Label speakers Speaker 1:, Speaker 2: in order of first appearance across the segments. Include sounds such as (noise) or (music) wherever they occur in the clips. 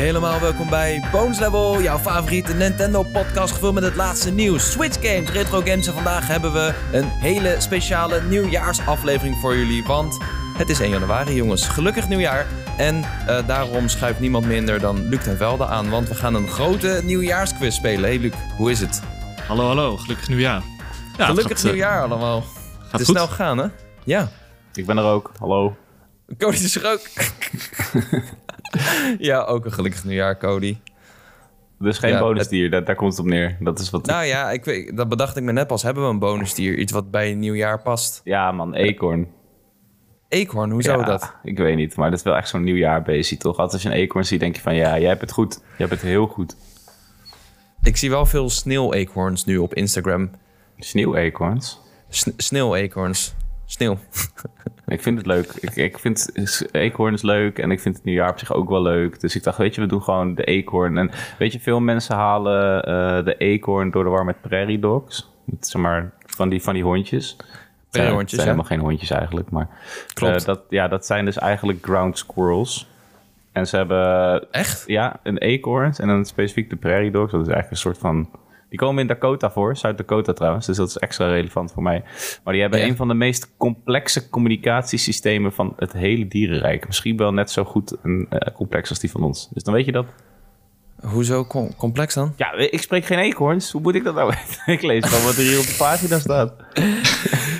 Speaker 1: Helemaal welkom bij Bones Level, jouw favoriete Nintendo-podcast gevuld met het laatste nieuws. Switch games, retro games en vandaag hebben we een hele speciale nieuwjaarsaflevering voor jullie. Want het is 1 januari jongens, gelukkig nieuwjaar. En eh, daarom schuift niemand minder dan Luc ten Velde aan, want we gaan een grote nieuwjaarsquiz spelen. hey Luc, hoe is het?
Speaker 2: Hallo, hallo. Gelukkig nieuwjaar. Ja, het
Speaker 1: gelukkig
Speaker 2: Ah, gaat, eh,
Speaker 1: nieuwjaar allemaal.
Speaker 2: Gaat
Speaker 1: het is
Speaker 2: goed.
Speaker 1: snel gegaan hè?
Speaker 2: (laughs)
Speaker 1: Ja.
Speaker 3: Ik ben er ook. Hallo.
Speaker 1: Cody is er ook. ja, ook een gelukkig nieuwjaar Cody.
Speaker 3: Dus geen
Speaker 1: Ja,
Speaker 3: bonusdier, daar, daar komt het op neer. Dat is wat.
Speaker 1: Nou ja, ik weet, dat bedacht ik me net pas. Hebben we een bonusdier? Iets wat bij een nieuwjaar past?
Speaker 3: ja, man, eekhoorn.
Speaker 1: Eekhoorn, hoezo
Speaker 3: ja,
Speaker 1: dat?
Speaker 3: Ik weet niet, maar dat is wel echt zo'n nieuwjaarbeestje, toch? Altijd als je een eekhoorn ziet, denk je van ja, jij hebt het goed. Jij hebt het heel goed.
Speaker 1: Ik zie wel veel sneeuw-eekhoorns nu op Instagram.
Speaker 3: Sneeuw-eekhoorns.
Speaker 1: Sne- sneeuw-eekhoorns. Sneeuw.
Speaker 3: Ik vind het leuk. Ik, ik vind s- eekhoorns leuk en ik vind het nieuwjaar op zich ook wel leuk. Dus ik dacht, weet je, we doen gewoon de eekhoorn. En weet je, veel mensen halen eh, de eekhoorn door de war met prairie dogs. Met, zeg maar, van die, van die hondjes. Het zijn-
Speaker 1: hondjes,
Speaker 3: het zijn
Speaker 1: ja.
Speaker 3: helemaal geen hondjes eigenlijk, maar...
Speaker 1: Klopt.
Speaker 3: eh, dat, ja, dat zijn dus eigenlijk ground squirrels. En ze hebben...
Speaker 1: Echt?
Speaker 3: Ja, een eekhoorns en dan specifiek de prairie dogs. Dat is eigenlijk een soort van... Die komen in Dakota voor, Zuid-Dakota trouwens. Dus dat is extra relevant voor mij. Maar die hebben
Speaker 1: Ja.
Speaker 3: een van de meest complexe communicatiesystemen van het hele dierenrijk. Misschien wel net zo goed en eh, complex als die van ons. Dus dan weet je dat.
Speaker 1: Hoezo com- complex dan?
Speaker 3: Ja, ik spreek geen eekhoorns. Hoe moet ik dat nou weten? (laughs) ik lees gewoon wat er hier op de pagina staat.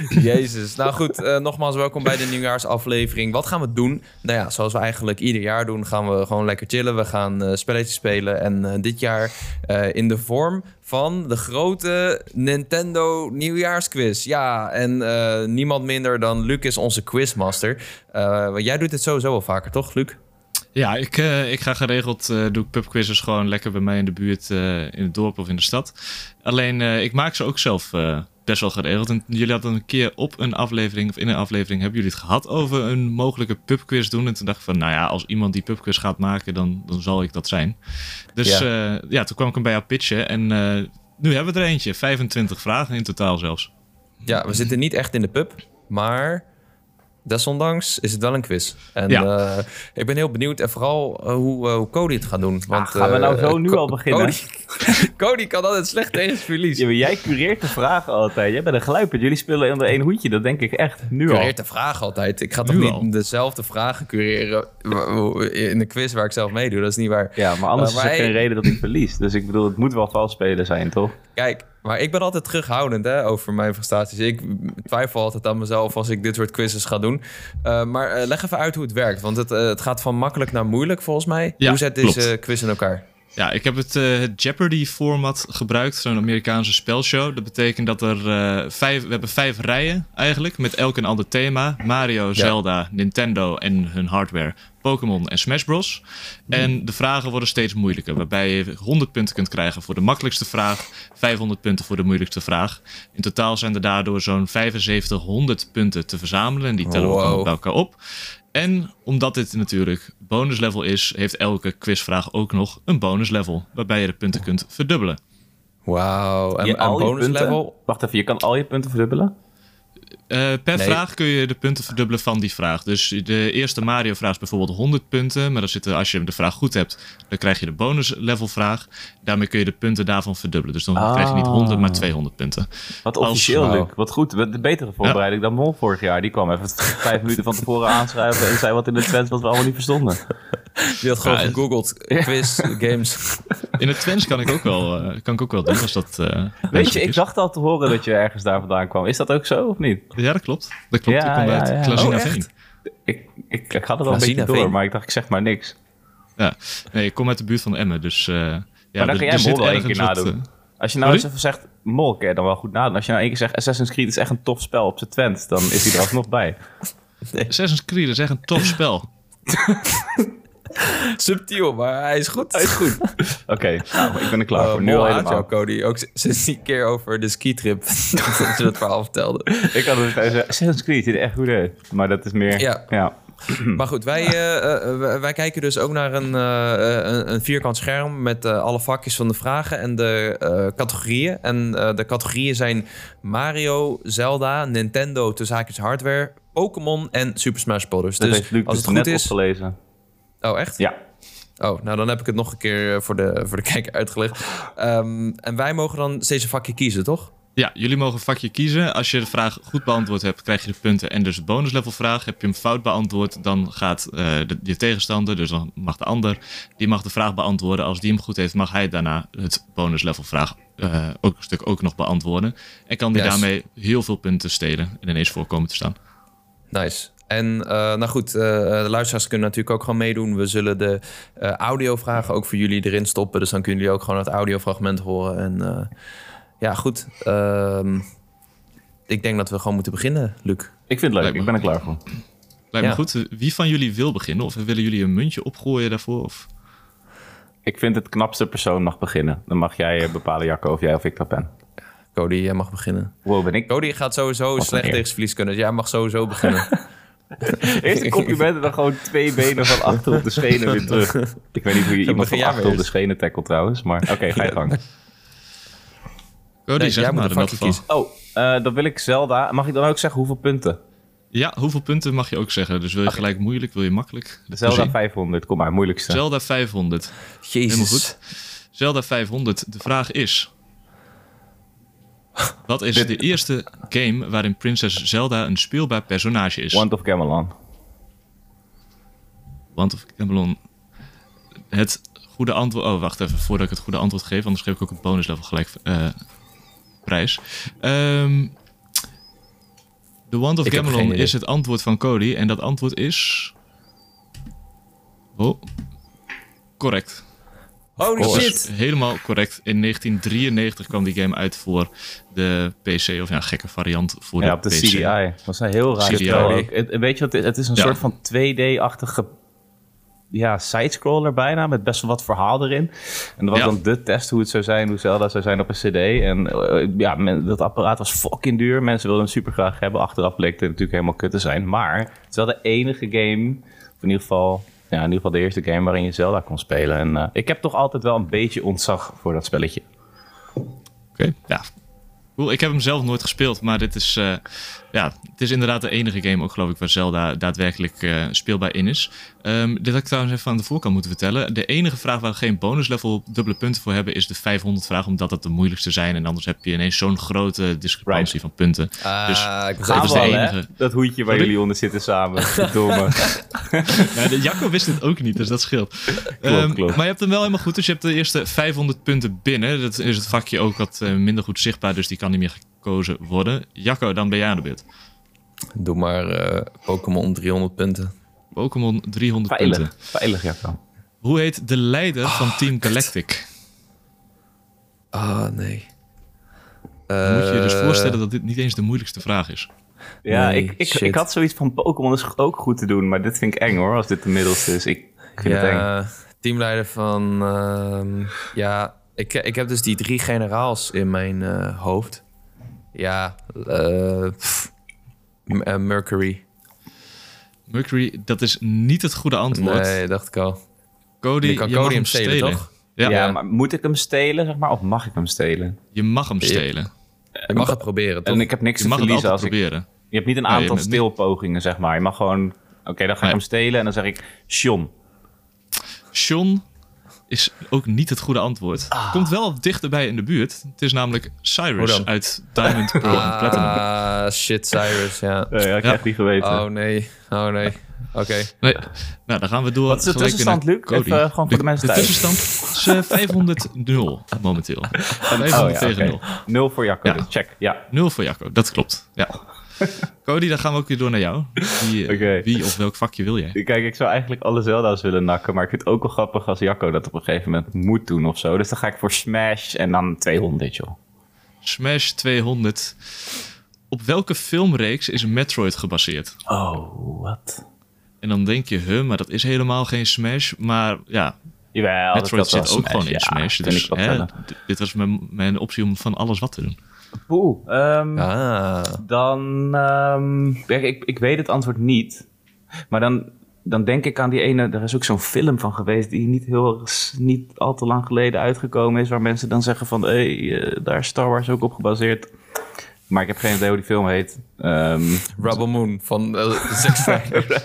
Speaker 1: Jezus. Nou goed, eh, nogmaals welkom bij de nieuwjaarsaflevering. Wat gaan we doen? Nou ja, zoals we eigenlijk ieder jaar doen, gaan we gewoon lekker chillen. We gaan eh, spelletjes spelen. En eh, dit jaar eh, in de vorm van de grote Nintendo nieuwjaarsquiz. Ja, en eh, niemand minder dan Luc is onze quizmaster. Eh, want jij doet dit sowieso wel vaker, toch, Luc?
Speaker 2: Ja, ik, eh, ik ga geregeld, eh, doe ik pubquizzes gewoon lekker bij mij in de buurt, eh, in het dorp of in de stad. Alleen, eh, ik maak ze ook zelf eh, best wel geregeld. En jullie hadden een keer op een aflevering, of in een aflevering, hebben jullie het gehad over een mogelijke pubquiz doen. En toen dacht ik van, nou ja, als iemand die pubquiz gaat maken, dan, dan zal ik dat zijn. Dus ja, ja toen kwam ik hem bij jou pitchen en... eh, nu hebben we er eentje. 25 vragen in totaal zelfs.
Speaker 1: Ja, we zitten niet echt in de pub, maar desondanks is het wel een quiz. En
Speaker 2: Ja.
Speaker 1: eh, ik ben heel benieuwd en vooral eh, hoe, eh, hoe Cody het gaat doen. Want,
Speaker 3: Ah, gaan we
Speaker 1: eh,
Speaker 3: nou zo nu
Speaker 1: Co-
Speaker 3: al beginnen?
Speaker 1: Cody, Cody (laughs) kan altijd slecht tegen het verlies.
Speaker 3: Ja, maar jij cureert de vragen altijd. Jij bent een gluiperd. Jullie spelen onder één hoedje. Dat denk ik echt nu al.
Speaker 1: Cureert de vraag altijd. Ik ga toch
Speaker 2: Nu
Speaker 1: niet
Speaker 2: al.
Speaker 1: dezelfde vragen cureren in de quiz waar ik zelf meedoe. Dat is niet waar.
Speaker 3: Ja, maar anders
Speaker 1: Maar
Speaker 3: is er
Speaker 1: wij-
Speaker 3: geen reden dat ik verlies. Dus ik bedoel, het moet wel vals spelen zijn, toch?
Speaker 1: Kijk, maar ik ben altijd terughoudend hè, over mijn prestaties. Ik twijfel altijd aan mezelf als ik dit soort quizzes ga doen. Eh, maar eh, leg even uit hoe het werkt. Want het, eh, het gaat van makkelijk naar moeilijk volgens mij.
Speaker 2: Ja,
Speaker 1: hoe zet deze quiz in elkaar?
Speaker 2: Ja, ik heb het eh, het Jeopardy-format gebruikt, zo'n Amerikaanse spelshow. Dat betekent dat er eh, vijf, we hebben vijf rijen eigenlijk, met elk een ander thema. Mario, Zelda, Nintendo en hun hardware, Pokémon en Smash Bros. En de vragen worden steeds moeilijker, waarbij je 100 punten kunt krijgen voor de makkelijkste vraag, 500 punten voor de moeilijkste vraag. In totaal zijn er daardoor zo'n 7500 punten te verzamelen en die tellen we
Speaker 1: Wow.
Speaker 2: gewoon bij elkaar op. En omdat dit natuurlijk bonuslevel is, heeft elke quizvraag ook nog een bonuslevel. Waarbij je de punten kunt verdubbelen.
Speaker 1: Wauw, en,
Speaker 3: Je-
Speaker 1: en
Speaker 3: al je
Speaker 1: bonus
Speaker 3: punten-
Speaker 1: level?
Speaker 3: Wacht even, je kan al je punten verdubbelen?
Speaker 2: Eh, per
Speaker 1: Nee.
Speaker 2: vraag kun je de punten verdubbelen van die vraag. Dus de eerste Mario-vraag is bijvoorbeeld 100 punten. Maar dan zitten, als je de vraag goed hebt, dan krijg je de bonuslevel-vraag. Daarmee kun je de punten daarvan verdubbelen. Dus dan
Speaker 3: Ah.
Speaker 2: krijg je niet 100, maar 200 punten.
Speaker 3: Wat
Speaker 2: Als-
Speaker 3: officieel,
Speaker 1: nou.
Speaker 3: Luc. Wat goed. Wat een betere voorbereiding dan Mol vorig jaar. Die kwam even (laughs) vijf minuten van tevoren aanschrijven en zei wat in de trend wat we allemaal niet verstonden.
Speaker 1: Je had gewoon
Speaker 2: Ja, het-
Speaker 1: gegoogeld. Quiz,
Speaker 3: (laughs)
Speaker 1: games.
Speaker 2: In het Twents kan ik ook wel, eh, kan ik ook wel doen. Als dat, eh,
Speaker 3: Weet je,
Speaker 2: wenselijk
Speaker 3: ik
Speaker 2: is.
Speaker 3: dacht al te horen dat je ergens daar vandaan kwam. Is dat ook zo of niet?
Speaker 2: Ja, dat klopt. Dat klopt.
Speaker 3: Ja,
Speaker 2: ik kom
Speaker 3: ja,
Speaker 2: uit
Speaker 3: ja.
Speaker 2: Klazina
Speaker 1: Oh, echt?
Speaker 2: Veen.
Speaker 3: Ik, ik, ik had er al een
Speaker 1: Lazina
Speaker 3: beetje door,
Speaker 1: Veen.
Speaker 3: maar ik dacht, ik zeg maar niks.
Speaker 2: Ja. Nee, ik kom uit de buurt van Emmen. Dus eh, ja,
Speaker 3: dan
Speaker 2: er-
Speaker 3: kun jij
Speaker 2: er zit
Speaker 3: Mol wel één
Speaker 2: ergens
Speaker 3: keer
Speaker 2: wat,
Speaker 3: nadoen.
Speaker 2: eh,
Speaker 3: Als je nou eens
Speaker 2: Sorry?
Speaker 3: even zegt, Mol kan je dan wel goed nadoen. Als je nou één keer zegt, Assassin's Creed is echt een tof spel op zijn trend, dan is hij er alsnog bij.
Speaker 2: eh, Assassin's Creed is echt een tof spel.
Speaker 1: Subtiel, maar hij is goed.
Speaker 3: Hij is goed. Oké, (laughs) nou, ik ben er klaar
Speaker 1: Eh,
Speaker 3: voor. Nu
Speaker 1: mol
Speaker 3: al
Speaker 1: haat
Speaker 3: helemaal.
Speaker 1: jou, Cody. Ook s- sinds die keer over de (laughs) skitrip. dat ze dat verhaal vertelde.
Speaker 3: Ik had het thuis, eh, Assassin's Creed ziet er echt goed uit. Maar dat is meer...
Speaker 1: Ja.
Speaker 3: Ja. Hm.
Speaker 1: Maar goed, wij, eh, eh, wij- wij kijken dus ook naar een, eh, eh, een- een vierkant scherm... met eh, alle vakjes van de vragen en de eh, categorieën. En eh, de categorieën zijn Mario, Zelda, Nintendo, tussen haakjes hardware... Pokémon en Super Smash Bros.
Speaker 3: Dat
Speaker 1: Dus
Speaker 3: heeft Luc
Speaker 1: als
Speaker 3: dus
Speaker 1: het goed
Speaker 3: net
Speaker 1: is...
Speaker 3: opgelezen.
Speaker 1: Oh, echt?
Speaker 3: Ja.
Speaker 1: Oh, nou dan heb ik het nog een keer eh, voor de, voor de kijker uitgelegd. Ehm, en wij mogen dan steeds een vakje kiezen, toch?
Speaker 2: Ja, jullie mogen een vakje kiezen. Als je de vraag goed beantwoord hebt, krijg je de punten en dus een bonuslevelvraag. Heb je hem fout beantwoord, dan gaat eh, de, je tegenstander, dus dan mag de ander, die mag de vraag beantwoorden. Als die hem goed heeft, mag hij daarna het bonuslevelvraag eh ook een stuk ook nog beantwoorden. En kan die
Speaker 1: Juist.
Speaker 2: daarmee heel veel punten stelen en ineens voorkomen te staan.
Speaker 1: Nice. En eh, nou goed, eh, de luisteraars kunnen natuurlijk ook gewoon meedoen. We zullen de eh audiovragen ook voor jullie erin stoppen. Dus dan kunnen jullie ook gewoon het audiofragment horen. En eh, ja, goed. Ehm, ik denk dat we gewoon moeten beginnen, Luc.
Speaker 3: Ik vind het leuk,
Speaker 2: Lijkt me.
Speaker 3: ik ben er klaar voor.
Speaker 2: Lijkt
Speaker 1: Ja.
Speaker 2: me goed. Wie van jullie wil beginnen? Of willen jullie een muntje opgooien daarvoor? Of...
Speaker 3: Ik vind het knapste persoon mag beginnen. Dan mag jij eh, bepalen, Jacco, of jij of ik dat ben.
Speaker 1: Cody, jij mag beginnen.
Speaker 3: Wow, ben ik...
Speaker 1: Cody gaat sowieso
Speaker 3: een
Speaker 1: slecht
Speaker 3: eer.
Speaker 1: tegen verlies kunnen. dus Jij mag sowieso beginnen.
Speaker 3: (laughs) Eerst een compliment en dan gewoon twee benen van achter op de schenen weer terug. Ik weet niet hoe je iemand
Speaker 1: begin
Speaker 3: van
Speaker 1: jij
Speaker 3: achter
Speaker 1: maar
Speaker 3: op de
Speaker 1: eerst.
Speaker 3: schenen tackle trouwens, maar oké, ga je gang.
Speaker 2: Cody,
Speaker 1: Nee,
Speaker 2: zeg
Speaker 1: jij moet
Speaker 2: Oh, maar
Speaker 1: een
Speaker 2: in dat
Speaker 1: vakje
Speaker 2: geval.
Speaker 1: kiezen.
Speaker 3: Oh, eh, dan wil ik Zelda. Mag ik dan ook zeggen hoeveel punten?
Speaker 2: Ja, hoeveel punten mag je ook zeggen? Dus wil je gelijk moeilijk, wil je makkelijk? Dat
Speaker 3: Zelda
Speaker 2: moet
Speaker 3: 500, kom maar, moeilijkste.
Speaker 2: je- Zelda 500. Helemaal
Speaker 1: Jezus.
Speaker 2: goed. Zelda 500, de vraag is... Wat is de eerste game waarin prinses Zelda een speelbaar personage is?
Speaker 3: Wand of Gamelan.
Speaker 2: Want of Camelon. Het goede antwoord... Oh, wacht even, voordat ik het goede antwoord geef... anders geef ik ook een bonuslevel gelijk eh, prijs. Ehm The Wand of
Speaker 1: Ik heb geen
Speaker 2: Gamelon
Speaker 1: idee.
Speaker 2: is het antwoord van Cody. En dat antwoord is... Oh, correct.
Speaker 1: Holy
Speaker 2: Dus
Speaker 1: Oh, shit.
Speaker 2: helemaal correct. In 1993 kwam die game uit voor de PC, of ja, gekke variant voor
Speaker 3: Ja,
Speaker 2: de,
Speaker 3: op de
Speaker 2: PC.
Speaker 3: CDI. Dat was een heel raar
Speaker 2: CDI.
Speaker 3: spel ook. Het- Weet je wat, het- het is een
Speaker 2: Ja.
Speaker 3: soort van 2D-achtige ja, sidescroller bijna, met best wel wat verhaal erin. En dat was
Speaker 2: Ja.
Speaker 3: dan de test hoe het zou zijn, hoe Zelda zou zijn op een cd. En eh, ja, men- dat apparaat was fucking duur. Mensen wilden hem super graag hebben. Achteraf bleek het natuurlijk helemaal kut te zijn. Maar het is wel de enige game, of in ieder geval... Ja, in ieder geval de eerste game waarin je Zelda kon spelen. En eh, ik heb toch altijd wel een beetje ontzag voor dat spelletje.
Speaker 2: Oké, ja. Cool, ik heb hem zelf nooit gespeeld, maar dit is, eh, ja, het is inderdaad de enige game ook, geloof ik, waar Zelda daadwerkelijk eh, speelbaar in is. Ehm, dit had ik trouwens even aan de voorkant moeten vertellen. De enige vraag waar we geen bonuslevel dubbele punten voor hebben, is de 500 vraag, omdat dat de moeilijkste zijn. En anders heb je ineens zo'n grote discrepantie
Speaker 3: Right.
Speaker 2: van punten.
Speaker 1: Ah,
Speaker 2: Dus-
Speaker 1: ik was
Speaker 2: Gaan
Speaker 1: even
Speaker 2: we
Speaker 3: Kabal,
Speaker 1: steen.
Speaker 2: al,
Speaker 3: hè?
Speaker 2: enige.
Speaker 3: Dat hoedje waar
Speaker 2: Sorry?
Speaker 3: jullie onder zitten
Speaker 2: (laughs)
Speaker 3: samen. Domme.
Speaker 2: Nou, de Jacco wist het ook niet, dus dat scheelt. Ehm,
Speaker 3: (laughs) klopt.
Speaker 2: Maar je hebt hem wel helemaal goed, dus je hebt de eerste 500 punten binnen. Dat is het vakje ook wat eh, minder goed zichtbaar, dus die kan niet meer gekozen worden. Jacco, dan ben jij aan de beurt.
Speaker 1: Doe maar eh, Pokémon 300 punten.
Speaker 2: Pokémon 300
Speaker 3: Veilig.
Speaker 2: punten.
Speaker 3: Veilig, Jacco.
Speaker 2: Hoe heet de leider
Speaker 1: Oh,
Speaker 2: van Team Galactic?
Speaker 1: Ah, nee.
Speaker 2: Dan moet je je dus
Speaker 1: Eh,
Speaker 2: voorstellen dat dit niet eens de moeilijkste vraag is.
Speaker 3: Ja,
Speaker 1: Nee,
Speaker 3: ik, ik,
Speaker 1: shit.
Speaker 3: ik had zoiets van Pokémon is ook goed te doen, maar dit vind ik eng hoor, als dit de middelste is. Ik vind het eng.
Speaker 1: Ja, teamleider van... ehm, ja, ik, ik heb dus die drie generaals in mijn eh, hoofd. Ja, eh, pff, M- eh, Mercury.
Speaker 2: Mercury, dat is niet het goede antwoord.
Speaker 1: Nee, dacht ik al.
Speaker 2: Cody,
Speaker 1: Je
Speaker 2: je,
Speaker 1: kan
Speaker 2: mag
Speaker 1: Cody
Speaker 2: hem
Speaker 1: hem
Speaker 2: stelen.
Speaker 1: stelen, toch?
Speaker 2: Ja,
Speaker 3: Ja, maar moet ik hem stelen, zeg maar, of mag ik hem stelen?
Speaker 2: je mag hem stelen.
Speaker 1: Je mag het proberen, toch?
Speaker 3: En ik heb niks
Speaker 2: Je
Speaker 3: te
Speaker 2: mag het
Speaker 3: verliezen
Speaker 2: altijd
Speaker 3: als ik...
Speaker 2: proberen.
Speaker 3: Je hebt niet een
Speaker 2: Nee, je
Speaker 3: aantal
Speaker 2: bent niet-
Speaker 3: stilpogingen, zeg maar. Je mag gewoon... Oké, dan ga
Speaker 2: Nee.
Speaker 3: ik hem stelen en dan zeg ik... Sean.
Speaker 2: Sean is ook niet het goede antwoord. Komt wel dichterbij in de buurt. Het is namelijk
Speaker 1: Ah. Hoe
Speaker 2: Cyrus
Speaker 1: dan?
Speaker 2: uit Diamond, Pearl en Platinum.
Speaker 1: Ah, shit, Cyrus, ja.
Speaker 3: Eh, ja, ik
Speaker 2: Ja.
Speaker 3: heb die geweten.
Speaker 1: Oh, nee. Oh, nee. Oké.
Speaker 2: Nee. Nou, dan gaan we door.
Speaker 3: Wat is de
Speaker 2: gelijk weer naar
Speaker 3: tussenstand, Luc?
Speaker 2: Cody.
Speaker 3: Even, eh, gewoon voor de mensen
Speaker 2: De
Speaker 3: thuis.
Speaker 2: tussenstand is eh, 500-0 momenteel. 500
Speaker 3: (laughs) Oh, ja,
Speaker 2: tegen
Speaker 3: oké.
Speaker 2: 0.
Speaker 3: Nul voor Jacco,
Speaker 2: Ja.
Speaker 3: dus check. Ja,
Speaker 2: Nul voor Jacco, dat klopt.
Speaker 3: (laughs)
Speaker 2: Ja. Cody, dan gaan we ook weer door naar jou. Wie, eh,
Speaker 3: Oké.
Speaker 2: wie of welk vakje wil jij?
Speaker 3: kijk, ik zou eigenlijk alle Zelda's willen nakken, maar ik vind het ook wel grappig als Jacco dat op een gegeven moment moet doen of zo. Dus dan ga ik voor Smash en dan 200, joh.
Speaker 2: Smash 200. Op welke filmreeks is Metroid gebaseerd?
Speaker 3: Oh, wat?
Speaker 2: En dan denk je, huh, maar dat is helemaal geen Smash. Maar ja,
Speaker 3: Jawel, dat
Speaker 2: Metroid
Speaker 3: telt
Speaker 2: zit
Speaker 3: wel
Speaker 2: ook
Speaker 3: Smash,
Speaker 2: gewoon in
Speaker 3: ja,
Speaker 2: Smash.
Speaker 3: vind
Speaker 2: Dus
Speaker 3: ik wel
Speaker 2: hè,
Speaker 3: tellen.
Speaker 2: d- dit was mijn, mijn optie om van alles wat te doen.
Speaker 3: Oeh, ehm,
Speaker 1: Ah.
Speaker 3: dan... ehm, kijk, ik, ik weet het antwoord niet. Maar dan, dan denk ik aan die ene... Er is ook zo'n film van geweest die niet, heel, niet al te lang geleden uitgekomen is... waar mensen dan zeggen van... Hé, eh, daar is Star Wars ook op gebaseerd. Maar ik heb geen idee hoe die film
Speaker 2: (laughs)
Speaker 3: heet. Ehm,
Speaker 1: Rebel Moon van eh, Zack
Speaker 3: (laughs)
Speaker 1: Snyder.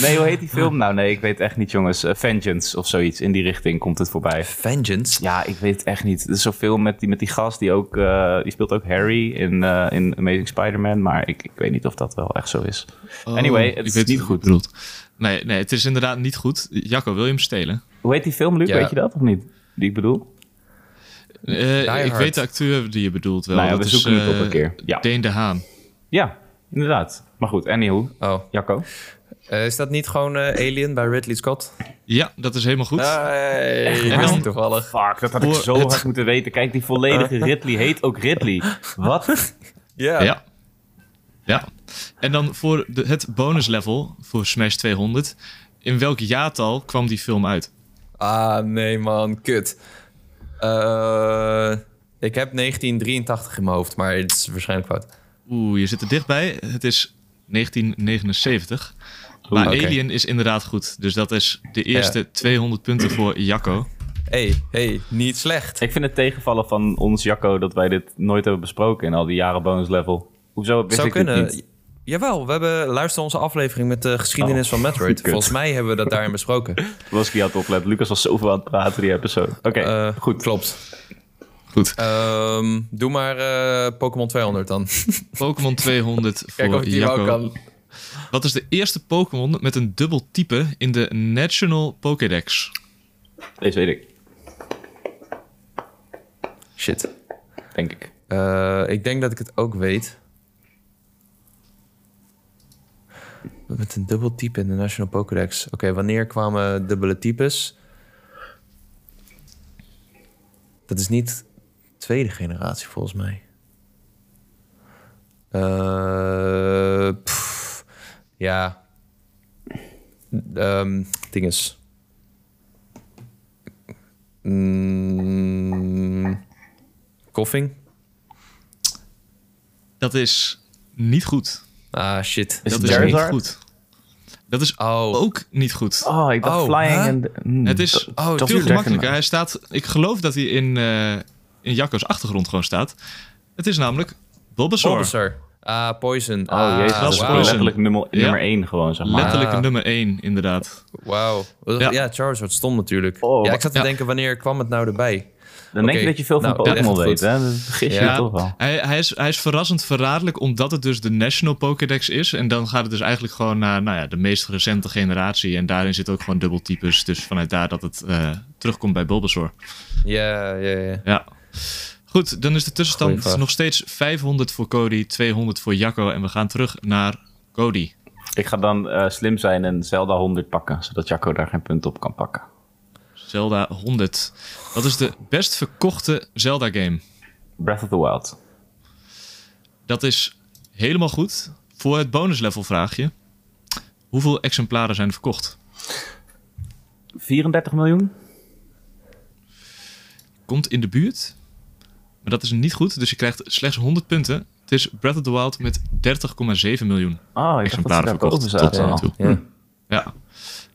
Speaker 3: nee, hoe heet die film nou? Nee, ik weet echt niet, jongens. Eh, Vengeance of zoiets. In die richting komt het voorbij.
Speaker 1: Vengeance?
Speaker 3: Ja, ik weet het echt niet. Er is zo'n film met die, met die gast die ook... eh, die speelt ook Harry in, eh, in Amazing Spider-Man. Maar ik, ik weet niet of dat wel echt zo is. anyway,
Speaker 2: Oh, ik
Speaker 3: het is
Speaker 2: weet
Speaker 3: niet
Speaker 2: wat
Speaker 3: goed.
Speaker 2: je bedoelt. Nee, nee, het is inderdaad niet goed. Jacco, wil je hem stelen?
Speaker 3: Hoe heet die film, Luc?
Speaker 1: Ja.
Speaker 3: Weet je dat of niet? Die ik bedoel?
Speaker 2: Eh,
Speaker 1: Die
Speaker 2: ik
Speaker 1: Hard.
Speaker 2: weet de acteur die je bedoelt wel.
Speaker 3: Nou ja,
Speaker 2: dat
Speaker 3: we
Speaker 2: is,
Speaker 3: zoeken het op
Speaker 2: eh,
Speaker 3: een keer. Ja.
Speaker 2: Deen de Haan.
Speaker 3: Ja, inderdaad. Maar goed, anywho.
Speaker 1: Oh,
Speaker 3: Jacco?
Speaker 1: Eh, is dat niet gewoon eh, Alien bij Ridley Scott?
Speaker 2: Ja, dat is helemaal
Speaker 1: Ah.
Speaker 2: goed.
Speaker 1: Nee, dat is niet toevallig.
Speaker 3: Fuck, dat had ik
Speaker 2: Voor
Speaker 3: zo
Speaker 2: het-
Speaker 3: hard moeten weten. Kijk, die volledige Ridley heet ook Ridley. Wat?
Speaker 1: Ja.
Speaker 2: Ja. Ja. En dan voor de, het bonuslevel voor Smash 200. In welk jaartal kwam die film uit?
Speaker 1: Ah, nee man, kut. Eh, ik heb 1983 in mijn hoofd, maar het is waarschijnlijk fout.
Speaker 2: Oeh, je zit er dichtbij. Het is 1979. Maar
Speaker 1: oké.
Speaker 2: Alien is inderdaad goed. Dus dat is de eerste 200 punten voor Jacco.
Speaker 1: Hé, hey, hey, niet slecht.
Speaker 3: Ik vind het tegenvallen van ons, Jacco, dat wij dit nooit hebben besproken in al die jaren bonus level. Hoezo wist
Speaker 1: Zou
Speaker 3: ik dit
Speaker 1: kunnen.
Speaker 3: niet?
Speaker 1: Jawel, we hebben luister onze aflevering met de geschiedenis van Metroid.
Speaker 3: kut.
Speaker 1: Volgens mij hebben we dat daarin besproken.
Speaker 3: Was ik niet aan het opletten. Lucas was zoveel aan het praten die episode. Oké,
Speaker 1: Eh,
Speaker 3: goed.
Speaker 1: Klopt.
Speaker 2: Goed.
Speaker 1: Ehm, doe maar eh, Pokémon 200 dan.
Speaker 2: Pokémon 200
Speaker 1: Kijk of
Speaker 2: voor
Speaker 1: ik die wel
Speaker 2: Jacco.
Speaker 1: kan.
Speaker 2: Wat is de eerste Pokémon met een dubbel type in de National Pokédex?
Speaker 3: Deze weet ik,
Speaker 1: Shit.
Speaker 3: denk ik.
Speaker 1: Eh, ik denk dat ik het ook weet. Met een dubbel type in de National Pokédex. Oké, wanneer kwamen dubbele types? Dat is niet tweede generatie volgens mij. Eh, pff, ja. Ehm dinges. Mm, koffing?
Speaker 2: Dat is niet goed.
Speaker 1: Ah, shit.
Speaker 3: Is
Speaker 2: dat is
Speaker 3: het
Speaker 2: niet
Speaker 3: Charizard?
Speaker 2: goed. Dat is
Speaker 1: Oh,
Speaker 2: ook niet goed.
Speaker 3: Oh, ik dacht
Speaker 1: Oh,
Speaker 3: Flying
Speaker 1: hè?
Speaker 3: and... Hmm,
Speaker 2: Het is
Speaker 1: oh,
Speaker 3: dat- dat
Speaker 2: veel
Speaker 3: is
Speaker 2: gemakkelijker.
Speaker 3: lekker.
Speaker 2: Hij staat, ik geloof dat hij in, eh, in Jacco's achtergrond gewoon staat. Het is namelijk Bulbasaur.
Speaker 1: Bulbasaur. Ah, Poison.
Speaker 3: Oh, jezus.
Speaker 1: ah,
Speaker 3: dat is
Speaker 1: wauw.
Speaker 3: gewoon letterlijk nummer,
Speaker 2: Ja.
Speaker 3: nummer 1 gewoon, zeg maar.
Speaker 2: Letterlijk
Speaker 1: Ah.
Speaker 2: nummer 1, inderdaad.
Speaker 1: Wauw.
Speaker 2: Ja.
Speaker 1: Ja. Charizard stom natuurlijk.
Speaker 3: Oh,
Speaker 1: ja, ik zat te
Speaker 2: ja.
Speaker 1: denken, wanneer kwam het nou erbij?
Speaker 3: Dan denk
Speaker 1: Oké.
Speaker 3: je dat je veel van
Speaker 1: Nou,
Speaker 3: Pokémon
Speaker 1: echt goed.
Speaker 3: weet, hè? Dat gis je
Speaker 1: Ja.
Speaker 3: toch wel.
Speaker 2: Hij, hij, is, hij is verrassend verraderlijk omdat het dus de National Pokédex is. En dan gaat het dus eigenlijk gewoon naar nou ja, de meest recente generatie. En daarin zit ook gewoon dubbeltypes. Dus vanuit daar dat het eh, terugkomt bij Bulbasaur.
Speaker 1: Ja, ja, ja.
Speaker 2: Ja. Goed, dan is de
Speaker 1: Goeie
Speaker 2: tussenstand
Speaker 1: vraag.
Speaker 2: nog steeds 500 voor Cody, 200 voor Jacco. En we gaan terug naar Cody.
Speaker 3: Ik ga dan eh, slim zijn en Zelda 100 pakken, zodat Jacco daar geen punt op kan pakken.
Speaker 2: Zelda 100. Wat is de best verkochte Zelda-game?
Speaker 3: Breath of the Wild.
Speaker 2: Dat is helemaal goed. Voor het bonuslevel vraag je. Hoeveel exemplaren zijn er verkocht?
Speaker 3: 34 miljoen? Oh,
Speaker 2: Komt in de buurt. Maar dat is niet goed, dus je krijgt slechts 100 punten. Het is Breath of the Wild met 30,7 miljoen
Speaker 3: Oh, ik dacht dat ze
Speaker 2: exemplaren
Speaker 3: daar
Speaker 2: verkocht.
Speaker 3: boven zaten.
Speaker 2: Tot nu
Speaker 3: al.
Speaker 2: toe.
Speaker 1: ja.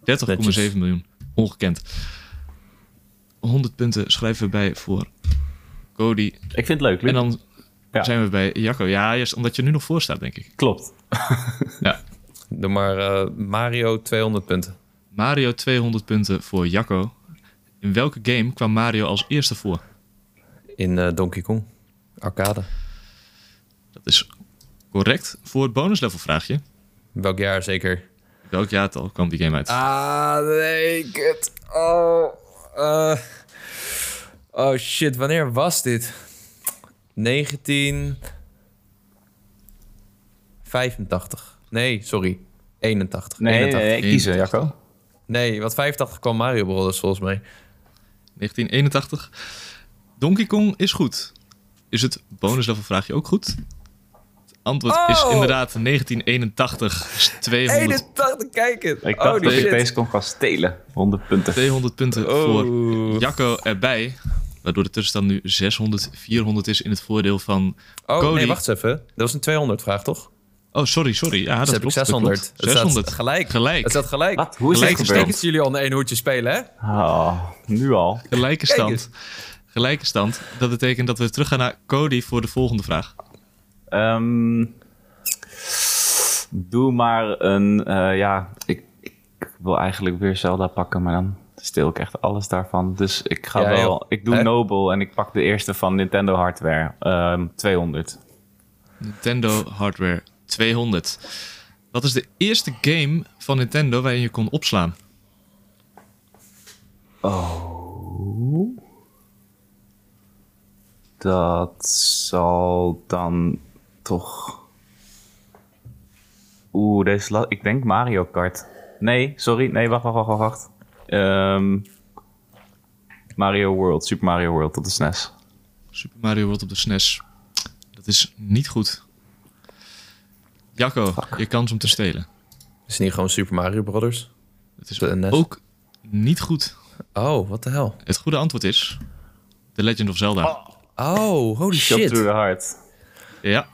Speaker 2: Ja, 30,7 miljoen. Ongekend. 100 punten schrijven we bij voor Cody.
Speaker 3: Ik vind het leuk, Luc.
Speaker 2: En dan
Speaker 3: Ja.
Speaker 2: zijn we bij Jacco. Ja, juist omdat je nu nog voor staat, denk ik.
Speaker 3: Klopt.
Speaker 2: Ja.
Speaker 1: Doe maar eh, Mario 200 punten.
Speaker 2: Mario 200 punten voor Jacco. In welke game kwam Mario als eerste voor?
Speaker 1: In eh, Donkey Kong. Arcade.
Speaker 2: Dat is correct. Voor het bonuslevel vraag je.
Speaker 1: Welk jaar zeker?
Speaker 2: Welk jaartal kwam die game uit?
Speaker 1: Ah, nee, kut. Oh, eh. oh shit, wanneer was dit? 1985. Nee, sorry. 81.
Speaker 3: Nee, nee,
Speaker 1: 81.
Speaker 3: nee, nee, kiezen, Jacco.
Speaker 1: Nee, want 85 kwam Mario Brothers volgens mij.
Speaker 2: 1981. Donkey Kong is goed. Is het bonuslevel vraag je ook goed? Het antwoord is
Speaker 1: Oh!
Speaker 2: inderdaad Dus 1981. Is 200,
Speaker 1: 81, kijk het.
Speaker 3: Ik dacht
Speaker 1: oh, die
Speaker 3: dat ik
Speaker 1: shit.
Speaker 3: deze kon gaan stelen. 100 punten.
Speaker 2: 200 punten voor
Speaker 1: Oh.
Speaker 2: Jacco erbij. Waardoor de tussenstand nu 600, 400 is in het voordeel van...
Speaker 1: Oh,
Speaker 2: Cody.
Speaker 1: nee, wacht eens even. Dat was een 200 vraag, toch?
Speaker 2: Oh, sorry, sorry. Ja,
Speaker 1: Dus
Speaker 2: dat
Speaker 1: heb ik
Speaker 2: klopt,
Speaker 1: 600.
Speaker 2: Dat
Speaker 1: Het
Speaker 2: klopt. 600.
Speaker 1: Staat gelijk.
Speaker 2: Gelijk.
Speaker 1: Het staat gelijk.
Speaker 3: Wat? Hoe is
Speaker 2: Gelijk
Speaker 3: dit
Speaker 1: Kijk
Speaker 3: gebeurd?
Speaker 1: eens jullie al een hoedje spelen, hè?
Speaker 3: Ah, nu al.
Speaker 2: Gelijke
Speaker 1: Kijk
Speaker 2: stand.
Speaker 1: eens.
Speaker 2: Gelijke stand. Dat betekent dat we terug gaan naar Cody voor de volgende vraag.
Speaker 3: Ehm, doe maar een. eh, ja, ik, ik wil eigenlijk weer Zelda pakken, maar dan steel ik echt alles daarvan. Dus ik ga
Speaker 1: Ja,
Speaker 3: wel.
Speaker 1: joh.
Speaker 3: Ik doe
Speaker 1: Hè?
Speaker 3: Noble en ik pak de eerste van Nintendo Hardware. ehm, 200.
Speaker 2: Nintendo Hardware 200. Wat is de eerste game van Nintendo waarin je kon opslaan?
Speaker 3: Dat zal dan toch. Oeh, deze is la- Ik denk Mario Kart. Nee, sorry. Nee, wacht, wacht, wacht, wacht, wacht. Ehm, Mario World, Super Mario World op de E SNES.
Speaker 2: Super Mario World op de SNES. Dat is niet goed. Jacco, je kans om te stelen.
Speaker 1: Is het niet gewoon Super Mario Brothers?
Speaker 2: Het is
Speaker 1: De NES.
Speaker 2: ook niet goed.
Speaker 1: Oh, wat de hel.
Speaker 2: Het goede antwoord is The Legend of Zelda.
Speaker 1: Oh, holy
Speaker 3: Shot
Speaker 1: shit.
Speaker 3: through the heart.
Speaker 2: Ja.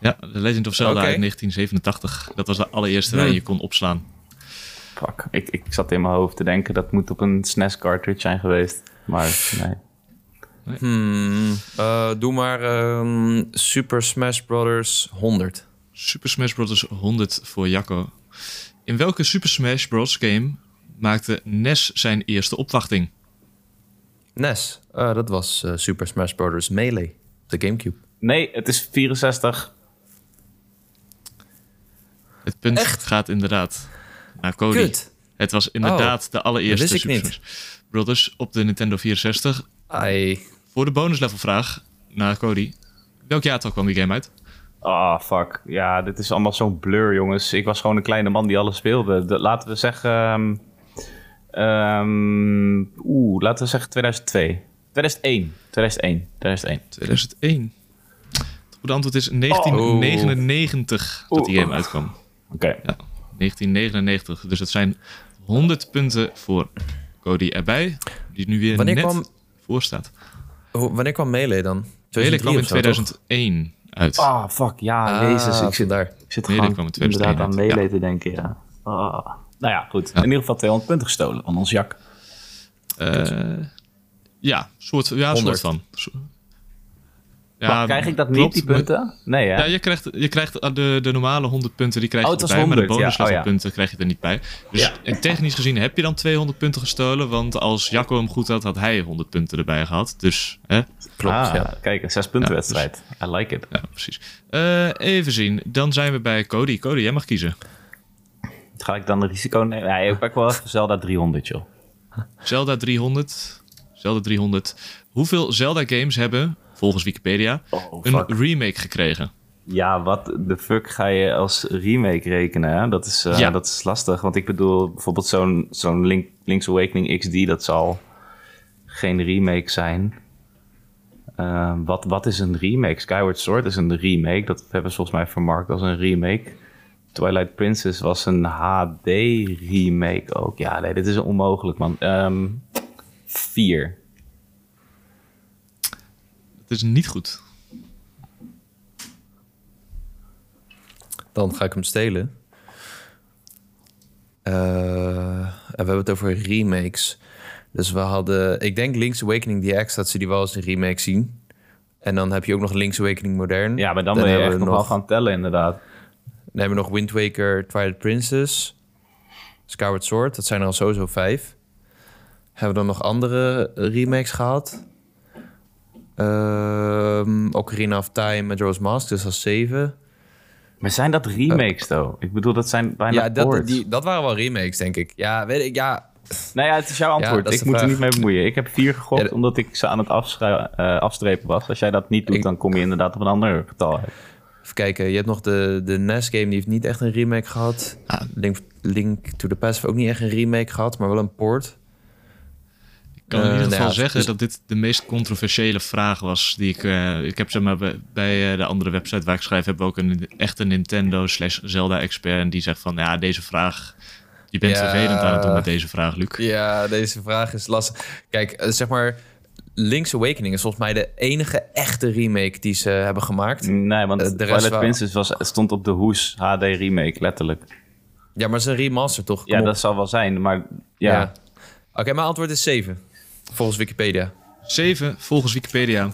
Speaker 2: Ja, The Legend of Zelda
Speaker 1: Oké. Hmm.
Speaker 2: uit 1987. Dat was de allereerste waar je kon opslaan.
Speaker 3: Fuck. Ik, ik zat in mijn hoofd te denken dat moet op een SNES cartridge zijn geweest. Maar nee.
Speaker 1: Eh, doe maar ehm, Super Smash Brothers 100.
Speaker 2: Super Smash Bros. 100 voor Jacco. In welke Super Smash Bros. game maakte Nes zijn eerste opwachting?
Speaker 1: NES. Eh, dat was eh, Super Smash Brothers Melee. De Gamecube.
Speaker 3: Nee, het is 64.
Speaker 2: Het punt
Speaker 1: Echt?
Speaker 2: gaat inderdaad naar Cody.
Speaker 1: Kut.
Speaker 2: Het was inderdaad de allereerste
Speaker 1: Oh, dat wist ik
Speaker 2: Super Smash Bros. op de Nintendo 64.
Speaker 1: Ai.
Speaker 2: Voor de bonuslevelvraag naar Cody. Welk jaartal kwam die game uit?
Speaker 3: Ah, fuck. Ja, dit is allemaal zo'n blur, jongens. Ik was gewoon een kleine man die alles speelde. De- laten we zeggen... ehm, ehm, Oeh, laten we zeggen 2002. 2001. 2001. 2001.
Speaker 2: 2001. Het goede antwoord
Speaker 1: Oh.
Speaker 2: is 1999 dat die
Speaker 3: Oeh.
Speaker 2: game uitkwam.
Speaker 3: Oké.
Speaker 2: Ja, 1999. Dus dat zijn 100 punten voor Cody erbij. Die nu weer
Speaker 1: Wanneer
Speaker 2: net
Speaker 1: kwam-
Speaker 2: voor staat.
Speaker 1: Hoe- wanneer kwam Melee dan?
Speaker 2: Mede
Speaker 1: 2003
Speaker 2: kwam in
Speaker 1: of zo, toch?
Speaker 2: 2001 uit.
Speaker 3: Ah, fuck. Ja,
Speaker 1: Ah,
Speaker 3: jezus. Ik zit,
Speaker 1: vandaar.
Speaker 3: ik zit
Speaker 2: Nee,
Speaker 3: gewoon
Speaker 2: dit kwam in
Speaker 3: inderdaad
Speaker 2: 2001
Speaker 3: aan
Speaker 2: uit.
Speaker 3: meeleven te denken, ja. Ah. Nou ja, goed. In ieder geval 200 punten gestolen van ons jak.
Speaker 2: Eh, ja, soort, ja,
Speaker 1: 100.
Speaker 2: soort van. Zo- Ja,
Speaker 3: Maar krijg ik dat niet,
Speaker 2: klopt,
Speaker 3: die
Speaker 2: maar-
Speaker 3: punten? Nee, hè?
Speaker 2: Ja, je krijgt, je krijgt eh, de, de normale 100 punten, die krijg je
Speaker 3: Oh, het was
Speaker 2: erbij, maar de
Speaker 3: 100, ja. Oh, ja.
Speaker 2: bonuslevelpunten krijg je er niet bij. Dus
Speaker 3: Ja.
Speaker 2: eh, technisch gezien heb je dan 200 punten gestolen, want als Jacco hem goed had, had hij 100 punten erbij gehad. Dus, hè?
Speaker 1: Klopt,
Speaker 3: Ah,
Speaker 1: ja. dus-
Speaker 3: Kijk, een 6 punten wedstrijd. I like it.
Speaker 2: ja, precies. Eh, even zien, dan zijn we bij Cody. Cody, jij mag kiezen.
Speaker 3: Ga ik dan een risico nemen? Ja, ik pak wel even Zelda 300, joh.
Speaker 2: Zelda 300. Zelda 300. Hoeveel Zelda games hebben, volgens Wikipedia,
Speaker 3: Oh,
Speaker 2: een
Speaker 3: fuck.
Speaker 2: remake gekregen?
Speaker 3: Ja, wat de fuck ga je als remake rekenen? Hè? Dat, is, eh,
Speaker 2: Ja.
Speaker 3: dat is lastig. Want ik bedoel, bijvoorbeeld zo'n zo'n Link, Link's Awakening XD, dat zal geen remake zijn. Eh, wat, wat is een remake? Skyward Sword is een remake. Dat hebben ze volgens mij vermarkt als een remake. Twilight Princess was een HD-remake ook. Ja, nee, dit is onmogelijk, man. Ehm, vier.
Speaker 2: Dat is niet goed.
Speaker 1: Dan ga ik hem stelen. Eh, en we hebben het over remakes. Dus we hadden... Ik denk Link's Awakening DX, dat ze die wel eens een remake zien. En dan heb je ook nog Link's Awakening Modern.
Speaker 3: Ja, maar dan, ben je
Speaker 1: hebben
Speaker 3: echt
Speaker 1: we
Speaker 3: nog wel gaan tellen, inderdaad.
Speaker 1: Dan hebben we nog Wind Waker, Twilight Princess, Skyward Sword. Dat zijn er al sowieso vijf. Hebben we dan nog andere remakes gehad? Ehm Ocarina of Time met Rose Mask, dus dat is zeven.
Speaker 3: Maar zijn dat remakes, though? Ik bedoel, dat zijn bijna
Speaker 1: Ja, dat,
Speaker 3: ports.
Speaker 1: die, dat waren wel remakes, denk ik. Ja, weet ik, ja.
Speaker 3: Nou ja, het is jouw
Speaker 1: Ja,
Speaker 3: antwoord.
Speaker 1: dat is
Speaker 3: ik
Speaker 1: de
Speaker 3: moet er
Speaker 1: vraag.
Speaker 3: niet mee bemoeien. Ik heb vier gegokt
Speaker 1: Ja, dat-
Speaker 3: omdat ik ze aan het afschra- eh, afstrepen was. Als jij dat niet doet,
Speaker 1: Ik-
Speaker 3: dan kom je inderdaad op een ander getal uit.
Speaker 1: Even kijken, je hebt nog de, de NES-game, die heeft niet echt een remake gehad.
Speaker 2: Ah.
Speaker 1: Link, Link to the Past heeft ook niet echt een remake gehad, maar wel een port.
Speaker 2: Ik kan in
Speaker 1: Eh,
Speaker 2: ieder
Speaker 1: nou
Speaker 2: geval
Speaker 1: ja,
Speaker 2: zeggen
Speaker 1: dus-
Speaker 2: dat dit de meest controversiële vraag was die ik... eh, ik heb zeg maar bij, bij, eh, de andere website waar ik schrijf, hebben we ook een echte Nintendo slash Zelda expert. En die zegt van, ja, deze vraag... Je bent
Speaker 1: Ja.
Speaker 2: vervelend aan het doen met deze vraag, Luc.
Speaker 1: Ja, deze vraag is lastig. Kijk, eh, zeg maar, Link's Awakening is volgens mij de enige echte remake die ze hebben gemaakt.
Speaker 3: Nee, want
Speaker 1: Eh, de rest
Speaker 3: Twilight
Speaker 1: wel.
Speaker 3: Princess was, stond op de hoes HD remake, letterlijk.
Speaker 1: Ja, maar ze is een remaster toch? Kom
Speaker 3: Ja,
Speaker 1: op.
Speaker 3: dat zal wel zijn, maar ja.
Speaker 1: Oké, mijn antwoord is 7. Volgens Wikipedia.
Speaker 2: 7, volgens Wikipedia,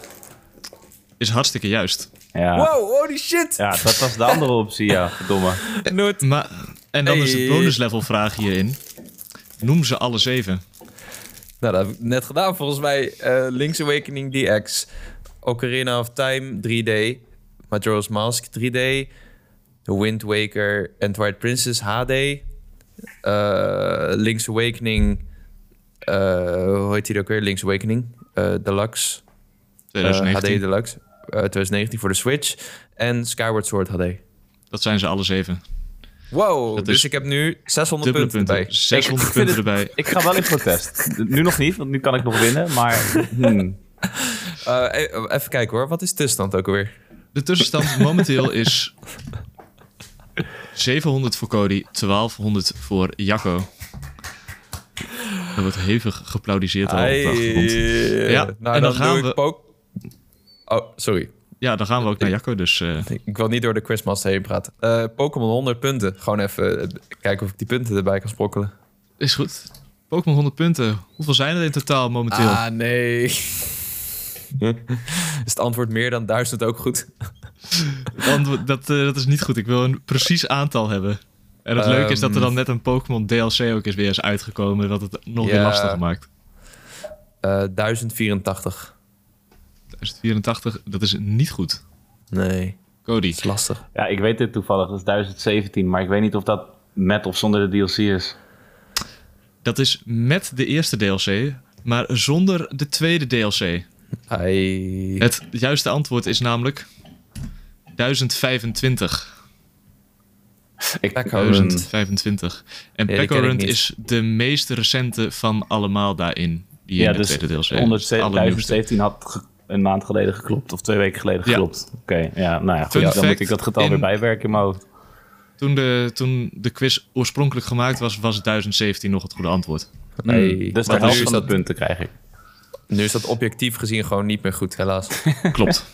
Speaker 2: is hartstikke juist.
Speaker 3: Ja.
Speaker 1: Wow, holy shit! (laughs)
Speaker 3: ja, dat was de andere optie, ja, verdomme.
Speaker 1: Noord.
Speaker 2: Maar, en dan is de
Speaker 1: Hey.
Speaker 2: bonuslevel vraag hierin. Noem ze alle zeven.
Speaker 1: Nou, dat heb ik net gedaan. Volgens mij eh Link's Awakening DX, Ocarina of Time 3D, Majora's Mask 3D, The Wind Waker en Twilight Princess HD, eh, Link's Awakening, eh, hoe heet die ook weer? Link's Awakening eh, Deluxe, eh, HD
Speaker 2: 2019.
Speaker 1: Deluxe eh, 2019 voor de Switch en Skyward Sword HD.
Speaker 2: dat zijn ze alle zeven.
Speaker 1: Wow,
Speaker 2: Dat
Speaker 1: dus
Speaker 2: is
Speaker 1: ik heb nu 600
Speaker 2: Dubbele
Speaker 1: punten,
Speaker 2: punten.
Speaker 1: bij.
Speaker 2: 600 punten erbij.
Speaker 3: Ik ga wel in protest. Nu nog niet, want nu kan ik nog winnen, maar... hmm.
Speaker 1: Eh, e- even kijken hoor, wat is de tussenstand ook alweer?
Speaker 2: De
Speaker 1: (laughs)
Speaker 2: tussenstand momenteel is 700 voor Cody, 1200 voor Jacco. Er wordt hevig geplaudiseerd al op de achtergrond.
Speaker 1: Ai,
Speaker 2: Ja,
Speaker 1: nou,
Speaker 2: en
Speaker 1: dan,
Speaker 2: dan gaan
Speaker 1: doe
Speaker 2: we-
Speaker 1: ik ook... Oh, sorry.
Speaker 2: Ja, dan gaan we ook naar Jacco. Dus eh,
Speaker 1: Ik wil niet door de Christmas heen praten. Eh, Pokémon 100 punten. Gewoon even eh, kijken of ik die punten erbij kan sprokkelen.
Speaker 2: is goed. Pokémon 100 punten. Hoeveel zijn er in totaal momenteel?
Speaker 1: nee. (laughs) Is het antwoord meer dan 1000 ook goed?
Speaker 2: Want dat, eh, dat is niet goed. Ik wil een precies aantal hebben. En het leuke is dat er
Speaker 1: Ehm.
Speaker 2: dan net een Pokémon DLC ook is weer is uitgekomen. Dat het nog weer
Speaker 1: Ja.
Speaker 2: lastiger maakt.
Speaker 1: Eh 1084.
Speaker 2: 1084, dat is niet goed.
Speaker 1: Nee, dat
Speaker 2: Cody.
Speaker 1: is lastig.
Speaker 3: Ja, ik weet dit toevallig, dat is 1017, maar ik weet niet of dat met of zonder de DLC is.
Speaker 2: Dat is met de eerste DLC, maar zonder de tweede DLC.
Speaker 1: Ai.
Speaker 2: Het juiste antwoord is namelijk 1025.
Speaker 3: Ik,
Speaker 1: Lekker. Current.
Speaker 2: 1025. En
Speaker 1: Oh, die
Speaker 2: ja,
Speaker 1: ken ik niet.
Speaker 2: is de meest recente van allemaal daarin. Die
Speaker 3: ja,
Speaker 2: in de
Speaker 3: dus
Speaker 2: tweede DLC. 1017.
Speaker 3: 1017 had ge- een maand geleden geklopt, of twee weken geleden
Speaker 2: Ja.
Speaker 3: geklopt. Oké, ja, nou ja, goed,
Speaker 2: Fun
Speaker 3: dan
Speaker 2: fact,
Speaker 3: moet ik dat getal
Speaker 2: in-
Speaker 3: weer bijwerken in mijn hoofd.
Speaker 2: Toen de, toen de quiz oorspronkelijk gemaakt was, was 1017 nog het goede antwoord.
Speaker 1: Ai.
Speaker 3: Dus de
Speaker 1: Maar
Speaker 3: helft
Speaker 1: nu, is
Speaker 3: van de
Speaker 1: dat,
Speaker 3: punten krijg ik.
Speaker 1: nu is dat objectief gezien gewoon niet meer goed, helaas.
Speaker 3: (laughs)
Speaker 2: Klopt.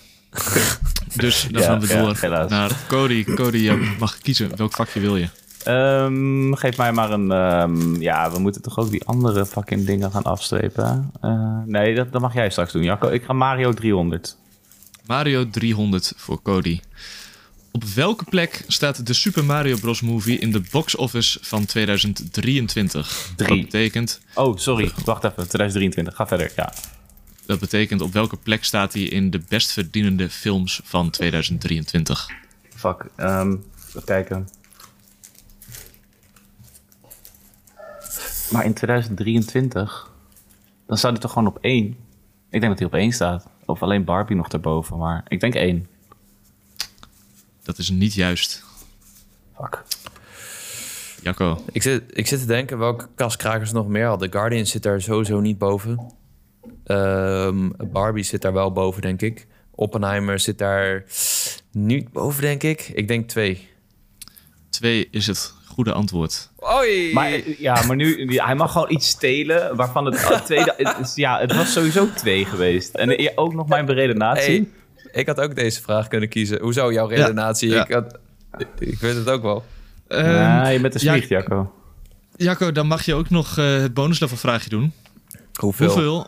Speaker 2: dus dan
Speaker 3: Ja,
Speaker 2: gaan we
Speaker 3: ja,
Speaker 2: door
Speaker 3: helaas.
Speaker 2: naar Cody. Cody, je mag kiezen welk vakje wil je.
Speaker 3: Ehm, geef mij maar een... ehm, ja, we moeten toch ook die andere fucking dingen gaan afstrepen. Eh, nee, dat, dat mag jij straks doen, Jacco. Ik ga Mario 300.
Speaker 2: Mario 300 voor Cody. Op welke plek staat de Super Mario Bros. Movie in de box office van 2023?
Speaker 3: Drie.
Speaker 2: Dat betekent,
Speaker 3: Oh, sorry. Wacht even. 2023. Ga verder. Ja.
Speaker 2: dat betekent op welke plek staat hij in de best verdienende films van 2023?
Speaker 3: Fuck. Ehm even kijken. Maar in 2023, dan staat hij toch gewoon op één? Ik denk dat hij op één staat. Of alleen Barbie nog daarboven, maar ik denk één.
Speaker 2: Dat is niet juist.
Speaker 3: Fuck.
Speaker 2: Jacco,
Speaker 1: Ik zit, ik zit te denken welke kaskrakers nog meer hadden. Guardian zit daar sowieso niet boven. Ehm, Barbie zit daar wel boven, denk ik. Oppenheimer zit daar niet boven, denk ik. Ik denk twee.
Speaker 2: 2 is het goede antwoord.
Speaker 1: Oei!
Speaker 3: Maar eh, ja, maar nu, ja, hij mag gewoon iets stelen waarvan het oh, (laughs) tweede... het is- ja, het was sowieso twee geweest. En eh, ook nog mijn beredenatie.
Speaker 1: Hey, ik had ook deze vraag kunnen kiezen. Hoezo jouw redenatie?
Speaker 2: ja.
Speaker 1: Ik, had, ik weet het ook wel.
Speaker 2: Ehm,
Speaker 3: nee, je bent een
Speaker 2: ja-
Speaker 3: vlieg, Jacco.
Speaker 2: Jacco, dan mag je ook nog eh, het bonuslevelvraagje doen.
Speaker 1: Hoeveel?
Speaker 2: Hoeveel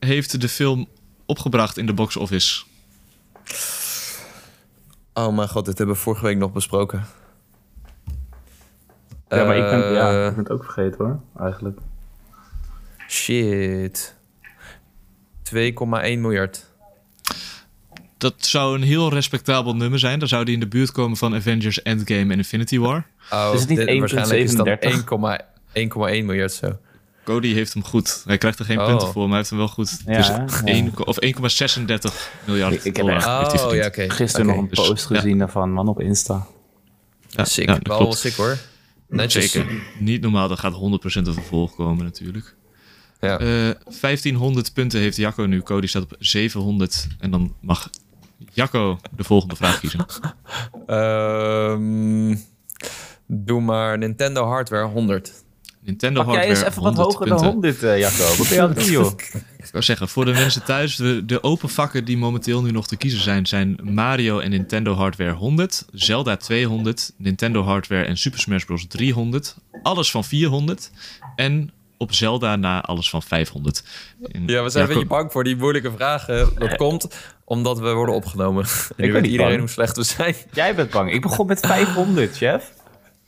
Speaker 2: heeft de film opgebracht in de box office?
Speaker 1: Oh mijn god, dit hebben we vorige week nog besproken.
Speaker 3: Ja, maar ik ben, ja,
Speaker 1: Eh,
Speaker 3: ik ben het ook vergeten hoor, eigenlijk.
Speaker 1: Shit. 2,1 miljard.
Speaker 2: Dat zou een heel respectabel nummer zijn. Dan zou die in de buurt komen van Avengers Endgame en Infinity War.
Speaker 1: Oh,
Speaker 3: Is het niet
Speaker 1: dit- waarschijnlijk is dat
Speaker 3: 1,37?
Speaker 1: 1,1 1,1 miljard zo.
Speaker 2: Cody heeft hem goed. Hij krijgt er geen
Speaker 1: Oh.
Speaker 2: punten voor, maar hij heeft hem wel goed.
Speaker 3: Ja,
Speaker 2: dus
Speaker 3: ja.
Speaker 2: 1, of 1,36 miljard
Speaker 3: Ik- ik heb
Speaker 2: dollar
Speaker 3: echt-
Speaker 2: heeft hij
Speaker 1: Oh,
Speaker 2: verdiend.
Speaker 1: ja, oké.
Speaker 3: Gisteren
Speaker 1: Oké.
Speaker 3: nog een
Speaker 2: dus-
Speaker 3: post
Speaker 2: ja.
Speaker 3: gezien daarvan, man, op Insta.
Speaker 2: Ja,
Speaker 1: Sick.
Speaker 2: ja, dat
Speaker 1: wel
Speaker 2: klopt.
Speaker 1: sick hoor. Netjes.
Speaker 2: Zeker. Niet normaal, daar gaat 100% een vervolg komen natuurlijk.
Speaker 1: Ja.
Speaker 2: Eh, 1500 punten heeft Jacco nu. Cody staat op 700. En dan mag Jacco de volgende vraag kiezen.
Speaker 1: Ehm, doe maar Nintendo Hardware 100.
Speaker 2: Nintendo
Speaker 3: Pak jij
Speaker 2: Hardware
Speaker 3: eens even wat
Speaker 2: 100
Speaker 3: hoger dan
Speaker 2: punten.
Speaker 3: 100, eh, Jacco. Wat ben je aan het doen, joh?
Speaker 2: Ik wou zeggen, voor de mensen thuis, de, de open vakken die momenteel nu nog te kiezen zijn, zijn Mario en Nintendo Hardware 100, Zelda 200, Nintendo Hardware en Super Smash Bros. 300, alles van 400 en op Zelda na alles van 500. In-
Speaker 1: Ja, we zijn een
Speaker 2: kom-
Speaker 1: beetje bang voor die moeilijke vragen. Dat komt omdat we worden opgenomen. Ik weet
Speaker 3: niet
Speaker 1: iedereen
Speaker 3: bang.
Speaker 1: hoe slecht we zijn.
Speaker 3: (laughs) Jij bent bang. Ik begon met 500, chef.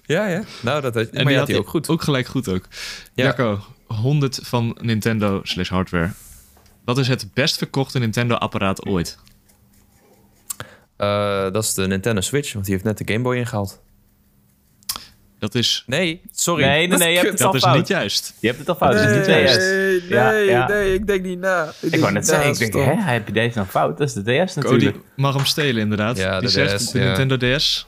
Speaker 1: Ja, ja. Nou, dat had,
Speaker 2: En
Speaker 1: maar
Speaker 2: die
Speaker 1: je
Speaker 2: had
Speaker 1: had die
Speaker 2: hij
Speaker 1: ook goed.
Speaker 2: Ook gelijk goed ook.
Speaker 1: Ja.
Speaker 2: Jacco, 100 van Nintendo slash hardware. Wat is het best verkochte Nintendo-apparaat ooit?
Speaker 1: Eh, dat is de Nintendo Switch, want die heeft net de Game Boy ingehaald.
Speaker 2: Dat is,
Speaker 1: Nee, sorry.
Speaker 3: Nee, nee, nee, je hebt
Speaker 1: Kut.
Speaker 3: het al
Speaker 2: dat is
Speaker 3: fout.
Speaker 2: niet juist.
Speaker 3: Je hebt het al fout. Het is niet
Speaker 1: Nee,
Speaker 3: de DS. Ja, ja.
Speaker 1: ik denk niet na.
Speaker 3: Ik wou net zeggen, ik denk,
Speaker 1: stom.
Speaker 3: hè, heb je deze nou fout? Dat is de DS
Speaker 2: Cody
Speaker 3: natuurlijk.
Speaker 2: mag hem stelen inderdaad.
Speaker 1: Ja,
Speaker 2: Die
Speaker 1: de
Speaker 2: zegt
Speaker 1: DS,
Speaker 2: de
Speaker 1: ja.
Speaker 2: Nintendo DS.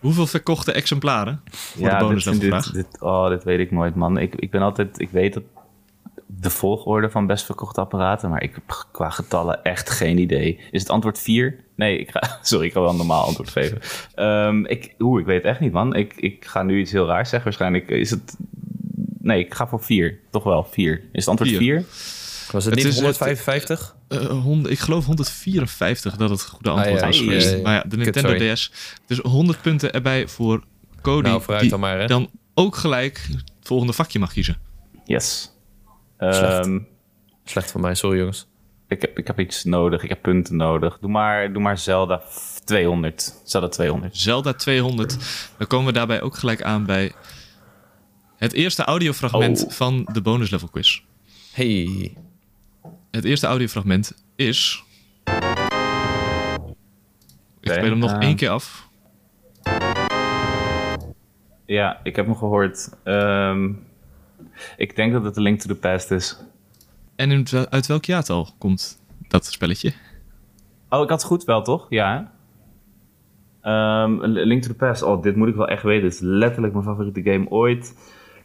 Speaker 2: Hoeveel verkochte exemplaren? Voor de bonus
Speaker 3: dit,
Speaker 2: dan
Speaker 3: dit,
Speaker 2: vandaag.
Speaker 3: dit, oh, dit weet ik nooit, man. Ik, ik ben altijd, ik weet dat de volgorde van best verkochte apparaten, maar ik heb qua getallen echt geen idee. Is het antwoord 4? Nee, ik ga, (laughs) sorry, ik ga wel een normaal antwoord geven. Ehm, ik, oeh, ik weet het echt niet, man. Ik, ik ga nu iets heel raars zeggen waarschijnlijk. Is het, nee, ik ga voor 4. Toch wel, 4. Is het antwoord
Speaker 2: Vier.
Speaker 3: 4?
Speaker 1: Was het
Speaker 2: Het
Speaker 1: niet
Speaker 2: is het-
Speaker 1: 155?
Speaker 2: Eh, hond- ik geloof 154 dat het goede antwoord
Speaker 1: Ah, ja,
Speaker 2: was
Speaker 3: ja,
Speaker 2: geweest.
Speaker 1: ja, ja.
Speaker 2: Maar ja, de
Speaker 1: Kut,
Speaker 2: Nintendo
Speaker 1: sorry.
Speaker 2: DS. Dus 100 punten erbij voor Cody.
Speaker 1: Nou, vooruit
Speaker 2: die
Speaker 1: dan maar, hè.
Speaker 2: dan ook gelijk het volgende vakje mag kiezen.
Speaker 3: Yes.
Speaker 1: Slecht.
Speaker 3: Ehm,
Speaker 1: Slecht van mij, sorry jongens.
Speaker 3: ik, heb, ik heb iets nodig, ik heb punten nodig. Doe maar, doe maar Zelda 200. Zelda 200.
Speaker 2: Zelda 200. Dan komen we daarbij ook gelijk aan bij het eerste audiofragment
Speaker 3: Oh.
Speaker 2: van de bonus level quiz.
Speaker 1: Hey.
Speaker 2: Het eerste audiofragment is. Ik
Speaker 3: Oké,
Speaker 2: speel hem nog
Speaker 3: eh.
Speaker 2: één keer af.
Speaker 3: Ja, ik heb hem gehoord. Ehm, ik denk dat het een Link to the Past is.
Speaker 2: En in, wel- uit welk jaartal komt dat spelletje?
Speaker 3: Oh, ik had het goed wel, toch? Ja. hè? Ehm, L- Link to the Past. Oh, dit moet ik wel echt weten. Dit is letterlijk mijn favoriete game ooit.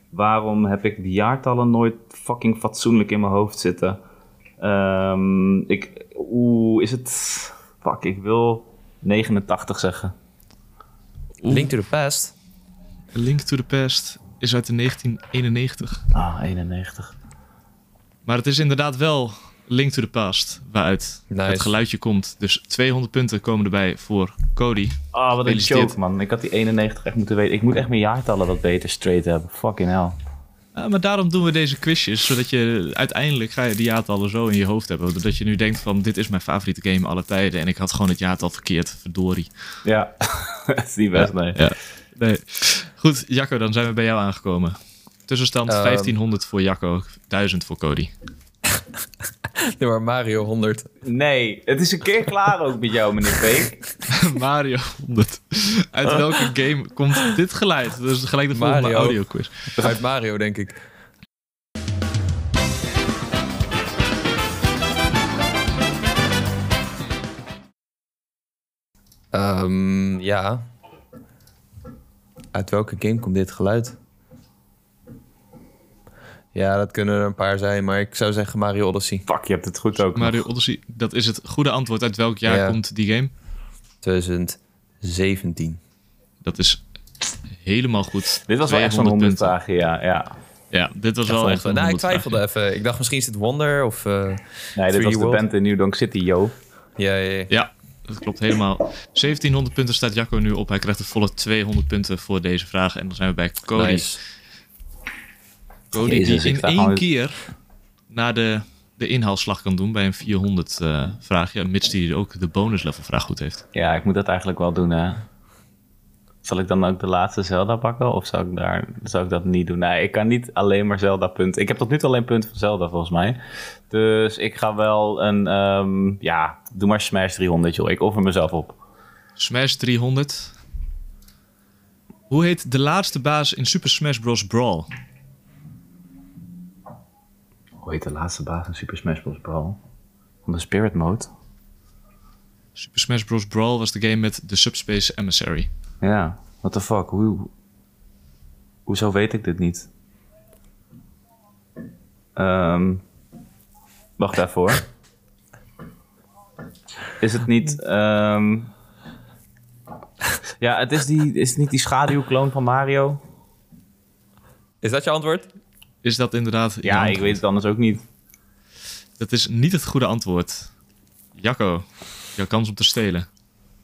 Speaker 3: Waarom heb ik die jaartallen nooit fucking fatsoenlijk in mijn hoofd zitten? Ehm, ik... Oeh, is het... Fuck, ik wil 89 zeggen.
Speaker 2: Oeh.
Speaker 1: Link to the Past.
Speaker 2: A Link to the Past is uit de 1991.
Speaker 3: Ah, 91.
Speaker 2: Maar het is inderdaad wel Link to the Past waaruit
Speaker 1: Nice.
Speaker 2: het geluidje komt. Dus 200 punten komen erbij voor Cody.
Speaker 3: Ah, wat een
Speaker 2: Gefeliciteerd.
Speaker 3: joke, man. Ik had die 91 echt moeten weten. Ik moet echt mijn jaartallen wat beter straight hebben. Fucking hell.
Speaker 2: Ah, maar daarom doen we deze quizjes, zodat je uiteindelijk ga je de jaartallen zo in je hoofd hebben. Dat je nu denkt van, dit is mijn favoriete game alle tijden en ik had gewoon het jaartal verkeerd, verdorie.
Speaker 3: Ja, (laughs) dat is niet best, nee.
Speaker 2: Ja. Nee. Goed, Jacco, dan zijn we bij jou aangekomen. Tussenstand
Speaker 1: Ehm.
Speaker 2: 1500 voor Jacco, 1000 voor Cody. (laughs)
Speaker 1: Nee, maar Mario 100.
Speaker 3: Nee, het is een keer klaar ook met jou, meneer Peek.
Speaker 2: Mario 100. Uit welke game komt dit geluid? Dat is gelijk de volgende
Speaker 1: Mario.
Speaker 2: audio quiz.
Speaker 1: Uit Mario, denk ik. Ehm, ja. Uit welke game komt dit geluid? Ja, dat kunnen er een paar zijn, maar ik zou zeggen Mario Odyssey
Speaker 3: (laughs) Fuck, je hebt het goed ook.
Speaker 2: Mario Odyssey, dat is het goede antwoord. Uit welk jaar
Speaker 1: Ja.
Speaker 2: komt die game?
Speaker 1: 2017.
Speaker 2: Dat is helemaal goed.
Speaker 3: Dit was wel echt
Speaker 2: 200
Speaker 3: zo'n 100
Speaker 2: punten.
Speaker 3: vragen, ja. ja.
Speaker 2: Ja, dit was wel echt een
Speaker 1: nou, ik
Speaker 2: 100 vraag.
Speaker 1: twijfelde even. Ik dacht misschien is het Wonder of... eh,
Speaker 3: Nee, dit
Speaker 1: Three
Speaker 3: was de
Speaker 1: World.
Speaker 3: band in New Donk City, yo.
Speaker 1: Ja, ja, ja.
Speaker 2: Ja, dat klopt helemaal. 1700 punten staat Jacco nu op. Hij krijgt de volle 200 punten voor deze vraag. En dan zijn we bij Cody.
Speaker 1: Nice.
Speaker 2: Cody
Speaker 3: Jezus,
Speaker 2: die
Speaker 3: ik
Speaker 2: in
Speaker 3: ga
Speaker 2: één
Speaker 3: gewoon-
Speaker 2: keer naar de, de inhaalslag kan doen bij een 400 eh vraag. Ja, mits die ook de bonus level vraag goed heeft.
Speaker 3: Ja, ik moet dat eigenlijk wel doen, hè. Zal ik dan ook de laatste Zelda pakken? Of zou ik, daar, zou ik dat niet doen? Nee, ik kan niet alleen maar Zelda punten. Ik heb tot nu toe alleen punten van Zelda, volgens mij. Dus ik ga wel een... ehm, ja, doe maar Smash 300, joh. Ik offer mezelf op.
Speaker 2: Smash 300. Hoe heet de laatste baas in Super Smash Bros. Brawl?
Speaker 3: Hoe heet de laatste baas in Super Smash Bros. Brawl? Van de Spirit Mode?
Speaker 2: Super Smash Bros. Brawl was de game met de Subspace Emissary.
Speaker 3: Ja, what the fuck? Hoe, hoezo weet ik dit niet? Ehm, wacht even hoor. Is het niet... ehm, ja, het is, die, is het niet die schaduwkloon van Mario?
Speaker 1: Is dat je antwoord?
Speaker 2: Is dat inderdaad... je
Speaker 3: Ja, ik
Speaker 2: antwoord?
Speaker 3: weet het anders ook niet.
Speaker 2: Dat is niet het goede antwoord. Jacco, jouw kans om te stelen.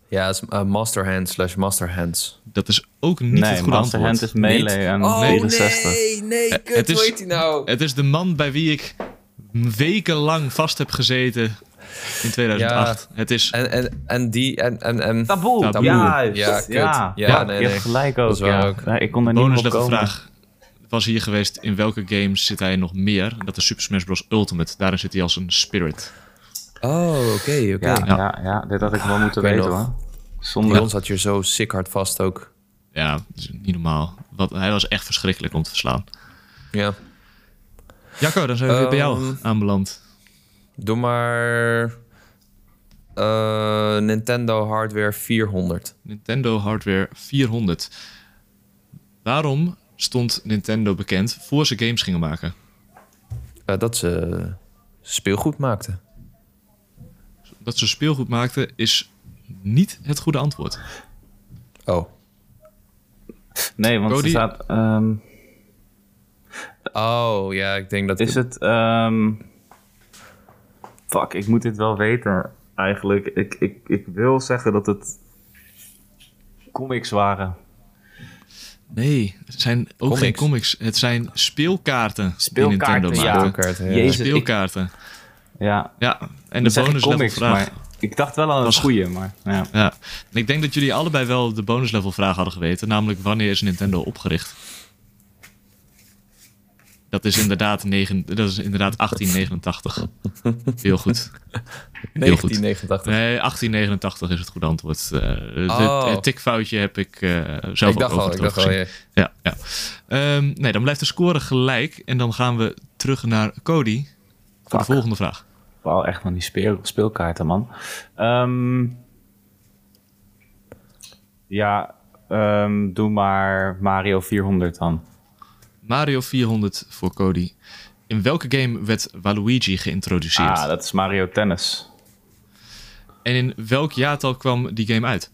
Speaker 1: Ja, het is eh, Master Hand slash Master Hands.
Speaker 2: Dat is ook niet het
Speaker 3: nee,
Speaker 2: goede
Speaker 3: Master
Speaker 2: antwoord.
Speaker 3: Hand is melee en
Speaker 1: Oh
Speaker 3: 69.
Speaker 1: nee, nee, kut,
Speaker 2: het is-
Speaker 1: hoe heet die nou?
Speaker 2: Het is de man bij wie ik wekenlang vast heb gezeten in 2008. Het is
Speaker 1: En, en, en die, en, en, en...
Speaker 3: Taboe.
Speaker 2: Taboe.
Speaker 3: Ja,
Speaker 1: Ja,
Speaker 3: ja,
Speaker 1: kut.
Speaker 3: ja.
Speaker 1: Ja, nee,
Speaker 3: je
Speaker 1: nee.
Speaker 3: hebt gelijk ook.
Speaker 1: Dat is waar
Speaker 3: ja.
Speaker 1: ook.
Speaker 3: Ja, ik kon daar niet meer op
Speaker 2: bonuslevel
Speaker 3: komen.
Speaker 2: vraag. Was hier geweest, in welke games zit hij nog meer? En dat is Super Smash Bros. Ultimate. Daarin zit hij als een spirit.
Speaker 1: Oh, oké, oké.
Speaker 3: Ja, ja. Ja, dit had ik wel moeten
Speaker 1: ik weet
Speaker 3: weten
Speaker 1: nog.
Speaker 3: hoor.
Speaker 1: Die
Speaker 3: Zonder...
Speaker 1: ons had je zo sick hard vast ook.
Speaker 2: Ja, dat is niet normaal. Wat, hij was echt verschrikkelijk om te verslaan.
Speaker 1: Ja.
Speaker 2: Jacco, dan zijn we weer bij jou
Speaker 1: Ehm,
Speaker 2: aanbeland.
Speaker 1: Doe maar... eh, Nintendo Hardware 400.
Speaker 2: Nintendo Hardware 400. Waarom stond Nintendo bekend voor ze games gingen maken?
Speaker 1: Eh, dat ze speelgoed maakten.
Speaker 2: Dat ze speelgoed maakten is niet het goede antwoord.
Speaker 1: Oh.
Speaker 3: Nee, want
Speaker 2: Cody?
Speaker 3: er staat... ehm,
Speaker 1: Oh, ja, ik denk dat...
Speaker 3: is het... ehm, fuck, ik moet dit wel weten eigenlijk. Ik, ik, ik wil zeggen dat het comics waren.
Speaker 2: Nee, het zijn ook
Speaker 1: Comics.
Speaker 2: geen comics. Het zijn speelkaarten,
Speaker 3: Speelkaarten,
Speaker 2: die Nintendo
Speaker 3: ja.
Speaker 2: maakte.
Speaker 1: Speelkaart, ja.
Speaker 3: Jezus. ik-
Speaker 2: Speelkaarten.
Speaker 3: Ja,
Speaker 2: Ja, en
Speaker 3: dan
Speaker 2: de
Speaker 3: zeg ik
Speaker 2: bonus level
Speaker 3: comics,
Speaker 2: vraag.
Speaker 3: maar ik dacht wel aan het
Speaker 2: Was-
Speaker 3: goede, maar ja.
Speaker 2: Ja. En ik denk dat jullie allebei wel de bonus level vraag hadden geweten, namelijk wanneer is Nintendo opgericht? Dat is inderdaad, negen, dat is inderdaad 1889. Heel goed. Heel goed.
Speaker 1: 1989.
Speaker 2: Nee, 1889 is het goede antwoord. Eh, het-
Speaker 1: Oh.
Speaker 2: het, het tikfoutje heb ik eh, zelf
Speaker 1: ik
Speaker 2: ook
Speaker 1: dacht al,
Speaker 2: over
Speaker 1: ik
Speaker 2: het
Speaker 1: dacht
Speaker 2: hoofd
Speaker 1: al.
Speaker 2: gezien.
Speaker 1: ja.
Speaker 2: Ja, ja. Ehm, nee, dan blijft de score gelijk. En dan gaan we terug naar Cody voor
Speaker 3: Fuck.
Speaker 2: de volgende vraag.
Speaker 3: Wauw, echt van die speel, speelkaarten, man. Ehm, ja, ehm, doe maar Mario 400 dan.
Speaker 2: Mario 400 voor Cody. In welke game werd Waluigi geïntroduceerd?
Speaker 3: Ah, dat is Mario Tennis.
Speaker 2: En in welk jaartal kwam die game uit?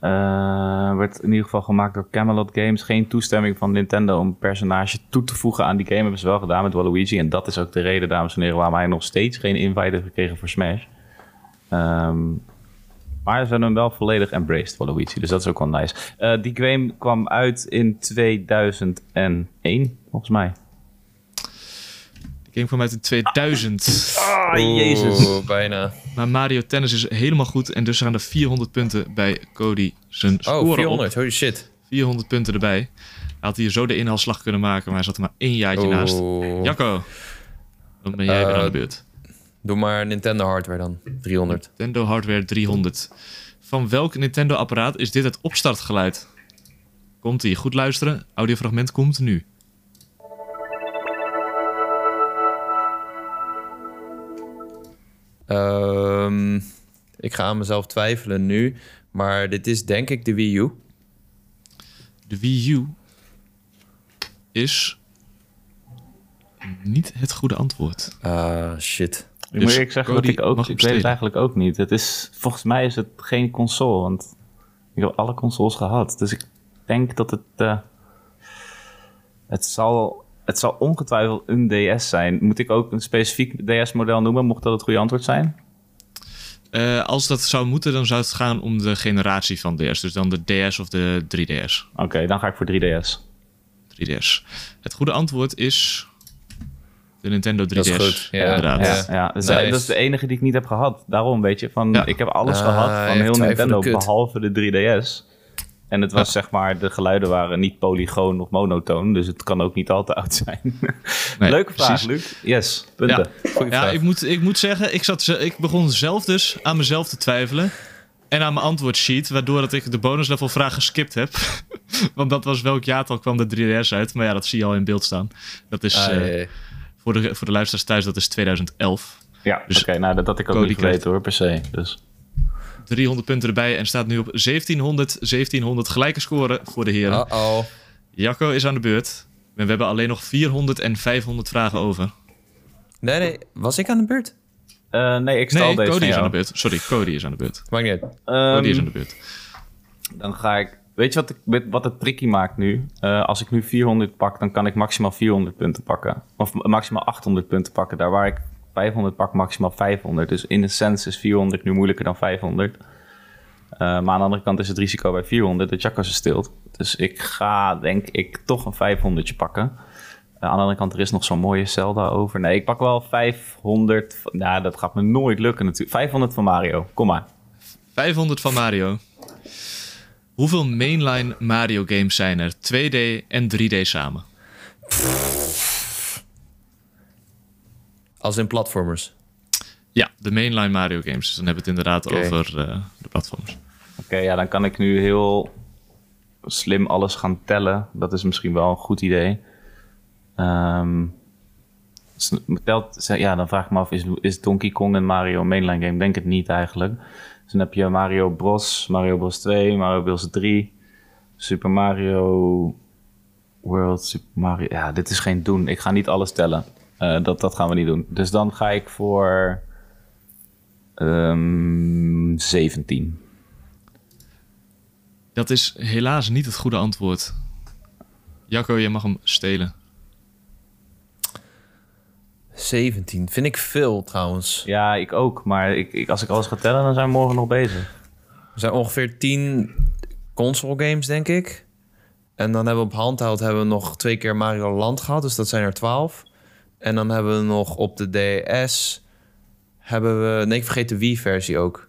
Speaker 3: Eh, werd in ieder geval gemaakt door Camelot Games. Geen toestemming van Nintendo om een personage toe te voegen aan die game. Hebben ze wel gedaan met Waluigi. En dat is ook de reden, dames en heren, waarom hij nog steeds geen invite heeft gekregen voor Smash. Ehm, maar ze hebben hem wel volledig embraced, Waluigi. Dus dat is ook wel nice. Eh, die game kwam uit in 2001, volgens mij.
Speaker 2: De game kwam uit in 2000.
Speaker 3: Ah,
Speaker 1: Oeh, bijna. Oh,
Speaker 2: Maar Mario Tennis is helemaal goed. En dus gaan er 400 punten bij Cody zijn score
Speaker 1: Oh,
Speaker 2: op.
Speaker 1: 400. Holy shit.
Speaker 2: 400 punten erbij. Hij had hier zo de inhaalslag kunnen maken, maar hij zat er maar één jaartje
Speaker 1: Oeh.
Speaker 2: naast. Jacco, dan ben jij weer
Speaker 1: Oh. Eh,
Speaker 2: aan de beurt.
Speaker 1: Doe maar Nintendo Hardware dan. 300.
Speaker 2: Nintendo Hardware 300. Van welk Nintendo-apparaat is dit het opstartgeluid? Komt-ie, goed luisteren. Audiofragment komt nu.
Speaker 1: Ehm, ik ga aan mezelf twijfelen nu. Maar dit is denk ik de Wii U.
Speaker 2: De Wii U is niet het goede antwoord.
Speaker 1: Ah, shit.
Speaker 3: Ik
Speaker 2: Dus
Speaker 3: moet eerlijk zeggen
Speaker 2: Cody
Speaker 3: dat ik ook...
Speaker 2: mag
Speaker 3: Ik weet het
Speaker 2: besteden.
Speaker 3: eigenlijk ook niet. Het is, volgens mij is het geen console, want ik heb alle consoles gehad. Dus ik denk dat het... eh, het, zal, het zal ongetwijfeld een DS zijn. Moet ik ook een specifiek DS-model noemen, mocht dat het goede antwoord zijn?
Speaker 2: Eh, als dat zou moeten, dan zou het gaan om de generatie van DS. Dus dan de DS of de 3DS.
Speaker 3: Oké, dan ga ik voor 3DS.
Speaker 2: 3DS. Het goede antwoord is de Nintendo 3DS.
Speaker 1: Dat is goed, ja.
Speaker 2: Inderdaad.
Speaker 1: Ja.
Speaker 3: Ja, ja. Dus,
Speaker 1: Nice.
Speaker 3: eh, dat is de enige die ik niet heb gehad. Daarom, weet je, van,
Speaker 2: Ja.
Speaker 3: ik heb alles
Speaker 1: Ah,
Speaker 3: gehad
Speaker 1: je
Speaker 3: van heel
Speaker 1: twijfelde
Speaker 3: Nintendo,
Speaker 1: kut.
Speaker 3: behalve de 3DS. En het was zeg maar, de geluiden waren niet polygoon of monotoon, dus het kan ook niet al te oud zijn. (laughs)
Speaker 2: Nee,
Speaker 3: Leuke vraag,
Speaker 2: precies.
Speaker 3: Luc. Yes, punten.
Speaker 1: Goeie
Speaker 2: Ja,
Speaker 1: vraag.
Speaker 2: ik moet, ik moet zeggen, ik, zat, ze- ik begon zelf dus aan mezelf te twijfelen. En aan mijn antwoordsheet, waardoor dat ik de bonuslevelvraag geskipt heb. (laughs) Want dat was welk jaartal kwam de 3DS uit. Maar ja, dat zie je al in beeld staan. Dat is
Speaker 1: Ah, ja,
Speaker 2: eh,
Speaker 1: ja, ja.
Speaker 2: voor, de, voor de luisteraars thuis, dat is 2011.
Speaker 3: Ja,
Speaker 2: Dus-
Speaker 3: oké, nou dat had ik ook
Speaker 2: Cody
Speaker 3: niet
Speaker 2: krijgt-
Speaker 3: geweten hoor, per se. Dus.
Speaker 2: 300 punten erbij en staat nu op 1700. 1700 gelijke score voor de heren.
Speaker 1: Uh-oh.
Speaker 2: Jacco is aan de beurt. En we hebben alleen nog 400 en 500 vragen over.
Speaker 1: Nee, nee. Was ik aan de beurt?
Speaker 3: Eh, nee, ik stel
Speaker 2: Nee,
Speaker 3: deze
Speaker 2: Cody
Speaker 3: van
Speaker 2: is aan de
Speaker 3: jou.
Speaker 2: beurt. Sorry, Cody is aan de beurt.
Speaker 1: Maakt niet uit.
Speaker 2: Cody is
Speaker 3: Ehm,
Speaker 2: aan de beurt.
Speaker 3: Dan ga ik. Weet je wat, ik, met- wat het tricky maakt nu? Eh, als ik nu 400 pak, dan kan ik maximaal 400 punten pakken. Of maximaal 800 punten pakken. Daar waar ik 500 pak, maximaal 500. Dus in de sens is 400 nu moeilijker dan 500. Eh, maar aan de andere kant is het risico bij 400 dat Jacco ze stilt. Dus ik ga, denk ik, toch een 500 pakken. Eh, aan de andere kant, er is nog zo'n mooie Zelda over. Nee, ik pak wel 500. van- Nou, dat gaat me nooit lukken natuurlijk. 500 van Mario, kom maar.
Speaker 2: 500 van Mario. Hoeveel mainline Mario games zijn er? 2D en 3D samen.
Speaker 1: Als in platformers.
Speaker 2: Ja, de mainline Mario games. Dus dan hebben we het inderdaad
Speaker 1: Oké.
Speaker 2: over eh, de platforms.
Speaker 3: Oké, ja, dan kan ik nu heel slim alles gaan tellen. Dat is misschien wel een goed idee. Ehm, s- telt, ja, dan vraag ik me af, is, is Donkey Kong en Mario een mainline game? Denk het niet eigenlijk. Dus dan heb je Mario Bros, Mario Bros 2, Mario Bros 3, Super Mario World, Super Mario... Ja, dit is geen doen. Ik ga niet alles tellen. Eh, dat, dat gaan we niet doen. Dus dan ga ik voor ehm 17.
Speaker 2: Dat is helaas niet het goede antwoord. Jacco, je mag hem stelen.
Speaker 1: 17 vind ik veel trouwens.
Speaker 3: Ja, ik ook. Maar ik, ik, als ik alles ga tellen, dan zijn we morgen nog bezig.
Speaker 1: Er zijn ongeveer 10 console games, denk ik. En dan hebben we op handheld hebben we nog twee keer Mario Land gehad. Dus dat zijn er 12. En dan hebben we nog op de DS... Hebben we... Nee, ik vergeet de Wii-versie ook.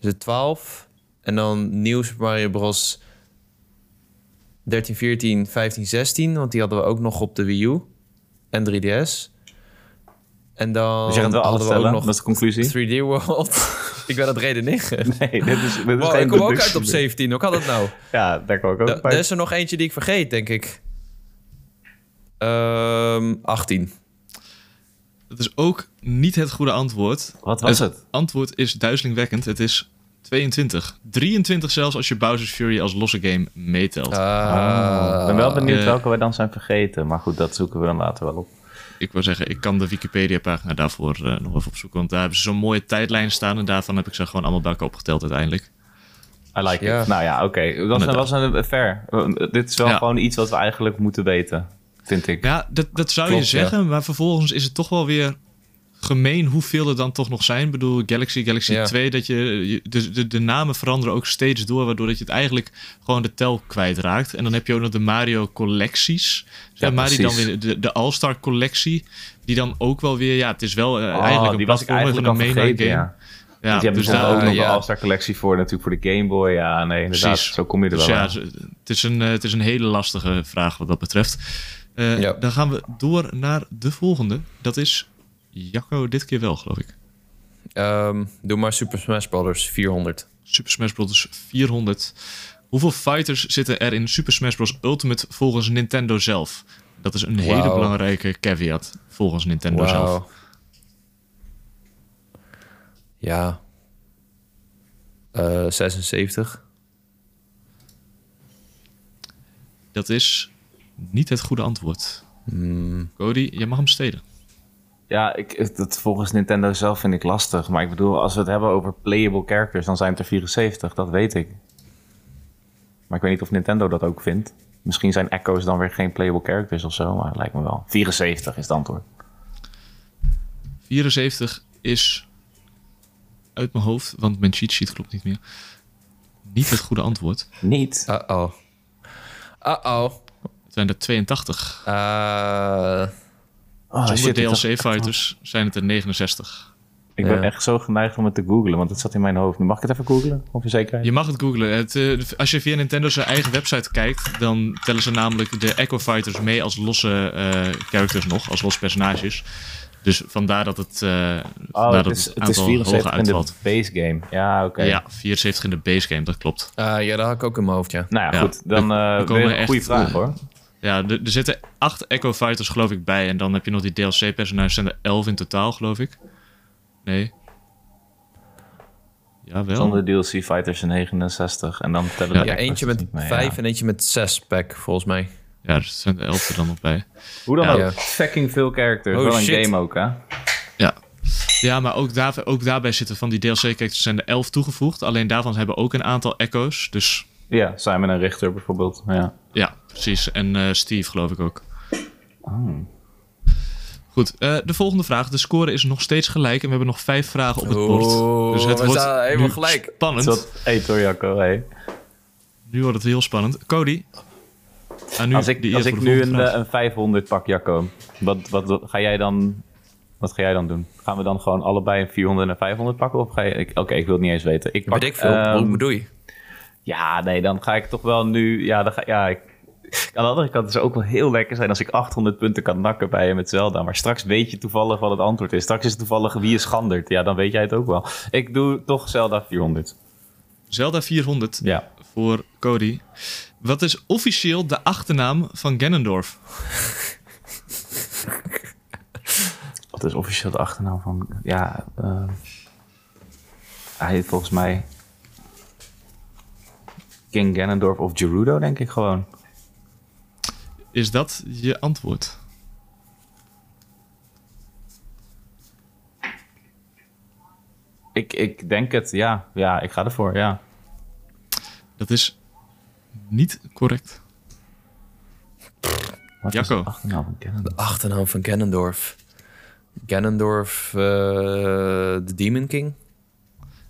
Speaker 1: Dus het 12. En dan nieuw Super Mario Bros. 13, 14, 15, 16. Want die hadden we ook nog op de Wii U. En 3DS. En dan
Speaker 3: Dus je gaat wel
Speaker 1: hadden
Speaker 3: alles
Speaker 1: we ook
Speaker 3: tellen?
Speaker 1: nog
Speaker 3: Dat is de conclusie?
Speaker 1: 3D World. (laughs) ik ben het redeneren.
Speaker 3: (laughs) Nee, dit is, dit is
Speaker 1: Wow,
Speaker 3: geen
Speaker 1: ik kom ook
Speaker 3: deductie
Speaker 1: uit op dus-
Speaker 3: meer.
Speaker 1: 17. Hoe kan dat
Speaker 3: (laughs)
Speaker 1: nou?
Speaker 3: Ja, daar kom ik ook
Speaker 1: Da-
Speaker 3: bij.
Speaker 1: Er is er nog eentje die ik vergeet, denk ik. Ehm 18.
Speaker 2: Dat is ook niet het goede antwoord.
Speaker 3: Wat was
Speaker 2: het
Speaker 3: het?
Speaker 2: antwoord is duizelingwekkend. Het is 22. 23 zelfs als je Bowser's Fury als losse game meetelt.
Speaker 1: Ah.
Speaker 3: ik ben wel benieuwd
Speaker 2: eh.
Speaker 3: welke wij dan zijn vergeten. Maar goed, dat zoeken we dan later wel op.
Speaker 2: Ik wil zeggen, ik kan de Wikipedia-pagina daarvoor eh, nog even opzoeken. Want daar hebben ze zo'n mooie tijdlijn staan. En daarvan heb ik ze gewoon allemaal bij elkaar opgeteld uiteindelijk.
Speaker 3: I like
Speaker 1: Ja.
Speaker 3: it. Nou ja, oké. Dat
Speaker 2: Met-
Speaker 3: was een fair. Eh, Dit is wel
Speaker 2: Ja.
Speaker 3: gewoon iets wat we eigenlijk moeten weten. Vind ik.
Speaker 2: Ja, dat, dat zou
Speaker 1: Klopt,
Speaker 2: je
Speaker 1: ja.
Speaker 2: zeggen. Maar vervolgens is het toch wel weer gemeen hoeveel er dan toch nog zijn. Ik bedoel, Galaxy, Galaxy
Speaker 1: Ja.
Speaker 2: 2. Dat je, je- de, de, de namen veranderen ook steeds door. Waardoor dat je het eigenlijk gewoon de tel kwijtraakt. En dan heb je ook nog de Mario collecties. Dus
Speaker 3: Ja,
Speaker 2: ja, Mario dan
Speaker 3: precies.
Speaker 2: weer de, de All-Star collectie. Die dan ook wel weer... Ja, het is wel eh,
Speaker 3: Oh,
Speaker 2: eigenlijk een
Speaker 3: die was ik
Speaker 2: platformer
Speaker 3: eigenlijk
Speaker 2: van
Speaker 3: al
Speaker 2: een mainline
Speaker 3: vergeten,
Speaker 2: game.
Speaker 3: ja.
Speaker 2: Ja,
Speaker 3: Want die hebben
Speaker 2: dus
Speaker 3: dus
Speaker 2: daar-
Speaker 3: ook nog
Speaker 1: ja.
Speaker 3: de All-Star collectie voor. Natuurlijk voor de Game Boy. Ja, nee, inderdaad.
Speaker 2: Precies.
Speaker 3: Zo kom je er
Speaker 2: Dus
Speaker 3: wel
Speaker 2: ja,
Speaker 3: aan.
Speaker 2: ze- het is, een, eh, het is een hele lastige vraag wat dat betreft. Eh,
Speaker 1: Ja.
Speaker 2: Dan gaan we door naar de volgende. Dat is Jacco dit keer wel, geloof ik.
Speaker 1: Ehm, doe maar Super Smash Bros. 400.
Speaker 2: Super Smash Bros. 400. Hoeveel fighters zitten er in Super Smash Bros. Ultimate volgens Nintendo zelf? Dat is een hele
Speaker 1: Wauw.
Speaker 2: belangrijke caveat volgens Nintendo zelf.
Speaker 1: Wauw. Ja. Eh, 76.
Speaker 2: Dat is niet het goede antwoord.
Speaker 3: Hmm.
Speaker 2: Cody, je mag hem steden.
Speaker 3: Ja, ik, dat volgens Nintendo zelf vind ik lastig. Maar ik bedoel, als we het hebben over playable characters, dan zijn het er 74. Dat weet ik. Maar ik weet niet of Nintendo dat ook vindt. Misschien zijn Echo's dan weer geen playable characters of zo, maar lijkt me wel. 74 is het antwoord.
Speaker 2: 74 is uit mijn hoofd, want mijn cheat sheet klopt niet meer. Niet het goede antwoord.
Speaker 3: Niet.
Speaker 1: Uh-oh. Uh-oh.
Speaker 2: Het zijn er 82.
Speaker 1: Eh,
Speaker 3: Oh,
Speaker 2: Zonder
Speaker 3: shit, ik dacht-
Speaker 2: DLC-fighters zijn het er 69.
Speaker 3: Ik ben
Speaker 1: Ja.
Speaker 3: echt zo geneigd om het te googlen, want het zat in mijn hoofd. Mag ik het even googlen? Of je zekerheid?
Speaker 2: Je mag het googlen. Het, eh, als je via Nintendo zijn eigen website kijkt, dan tellen ze namelijk de Echo Fighters mee als losse eh, characters nog, als losse personages. Dus vandaar dat het, eh
Speaker 3: Oh,
Speaker 2: vandaar
Speaker 3: het
Speaker 2: dat
Speaker 3: is,
Speaker 2: het
Speaker 3: het is
Speaker 2: aantal hoger
Speaker 3: 74 in de
Speaker 2: uitvalt.
Speaker 3: base game. Ja, oké.
Speaker 2: Ja, 74 in de base game, dat klopt.
Speaker 1: eh, ja, dat had ik ook in mijn hoofd, ja.
Speaker 3: Nou ja,
Speaker 2: Ja,
Speaker 3: goed. Dan eh
Speaker 2: komen
Speaker 3: weer
Speaker 2: echt,
Speaker 3: een goede vraag
Speaker 2: eh,
Speaker 3: hoor.
Speaker 2: Ja, er, er zitten acht Echo Fighters geloof ik bij. En dan heb je nog die DLC-personages. Zijn er elf in totaal geloof ik? Nee. Jawel.
Speaker 3: Zonder DLC Fighters en 69. En dan tellen
Speaker 2: Ja,
Speaker 3: de
Speaker 1: Ja,
Speaker 3: Echo's
Speaker 1: eentje
Speaker 3: dus
Speaker 1: met
Speaker 3: niet mee,
Speaker 1: 5
Speaker 3: ja.
Speaker 1: en eentje met 6 pack, volgens mij.
Speaker 2: Ja, er zijn er elf er dan nog bij.
Speaker 3: Hoe dan
Speaker 2: Ja.
Speaker 3: ook.
Speaker 1: Ja.
Speaker 3: Fucking veel characters.
Speaker 1: Oh,
Speaker 3: Wel een
Speaker 1: shit.
Speaker 3: game ook, hè?
Speaker 2: Ja. Ja, maar ook, daar, ook daarbij zitten van die DLC-kijkers zijn er elf toegevoegd. Alleen daarvan hebben ook een aantal Echo's. Dus
Speaker 3: Ja, Simon en Richter bijvoorbeeld. Ja.
Speaker 2: ja, precies. En eh, Steve geloof ik ook. Goed, eh, de volgende vraag. De score is nog steeds gelijk en we hebben nog vijf vragen op het
Speaker 1: Oeh,
Speaker 2: bord. dus het
Speaker 1: Oh, we
Speaker 2: wordt
Speaker 1: staan helemaal
Speaker 2: nu
Speaker 1: gelijk.
Speaker 2: spannend.
Speaker 3: Tot, hey, door Jacco, hey.
Speaker 2: Nu wordt het heel spannend. Cody, Ah, aan u
Speaker 3: Als
Speaker 2: de
Speaker 3: ik,
Speaker 2: eer
Speaker 3: als
Speaker 2: voor
Speaker 3: ik
Speaker 2: de
Speaker 3: nu een,
Speaker 2: volgende vraag.
Speaker 3: eh, een 500 pak, Jacco, wat, wat, wat ga jij dan... Wat ga jij dan doen? Gaan we dan gewoon allebei een 400 en een 500 pakken? Of ga je... ik- Oké, ik wil het niet eens weten. Ik pak,
Speaker 1: Weet ik veel.
Speaker 3: ehm,
Speaker 1: Hoe bedoel je?
Speaker 3: Ja, nee, dan ga ik toch wel nu... Ja, dan ga, ja ik, aan de andere kant is het ook wel heel lekker zijn als ik 800 punten kan nakken bij je met Zelda. Maar straks weet je toevallig wat het antwoord is. Straks is het toevallig wie is Gandert. Ja, dan weet jij het ook wel. Ik doe toch Zelda 400.
Speaker 2: Zelda 400
Speaker 3: eh, Ja.
Speaker 2: voor Cody. Wat is officieel de achternaam van Ganondorf?
Speaker 3: Wat is officieel de achternaam van... Ja, eh, hij heet volgens mij... King Ganondorf of Gerudo, denk ik gewoon.
Speaker 2: Is dat je antwoord?
Speaker 3: Ik, ik denk het, ja. Ja, ik ga ervoor, ja.
Speaker 2: Dat is niet correct.
Speaker 3: Wat
Speaker 2: Jacco.
Speaker 3: is de achternaam van Ganondorf?
Speaker 1: Achternaam van Ganondorf. Ganondorf, eh, de Demon King?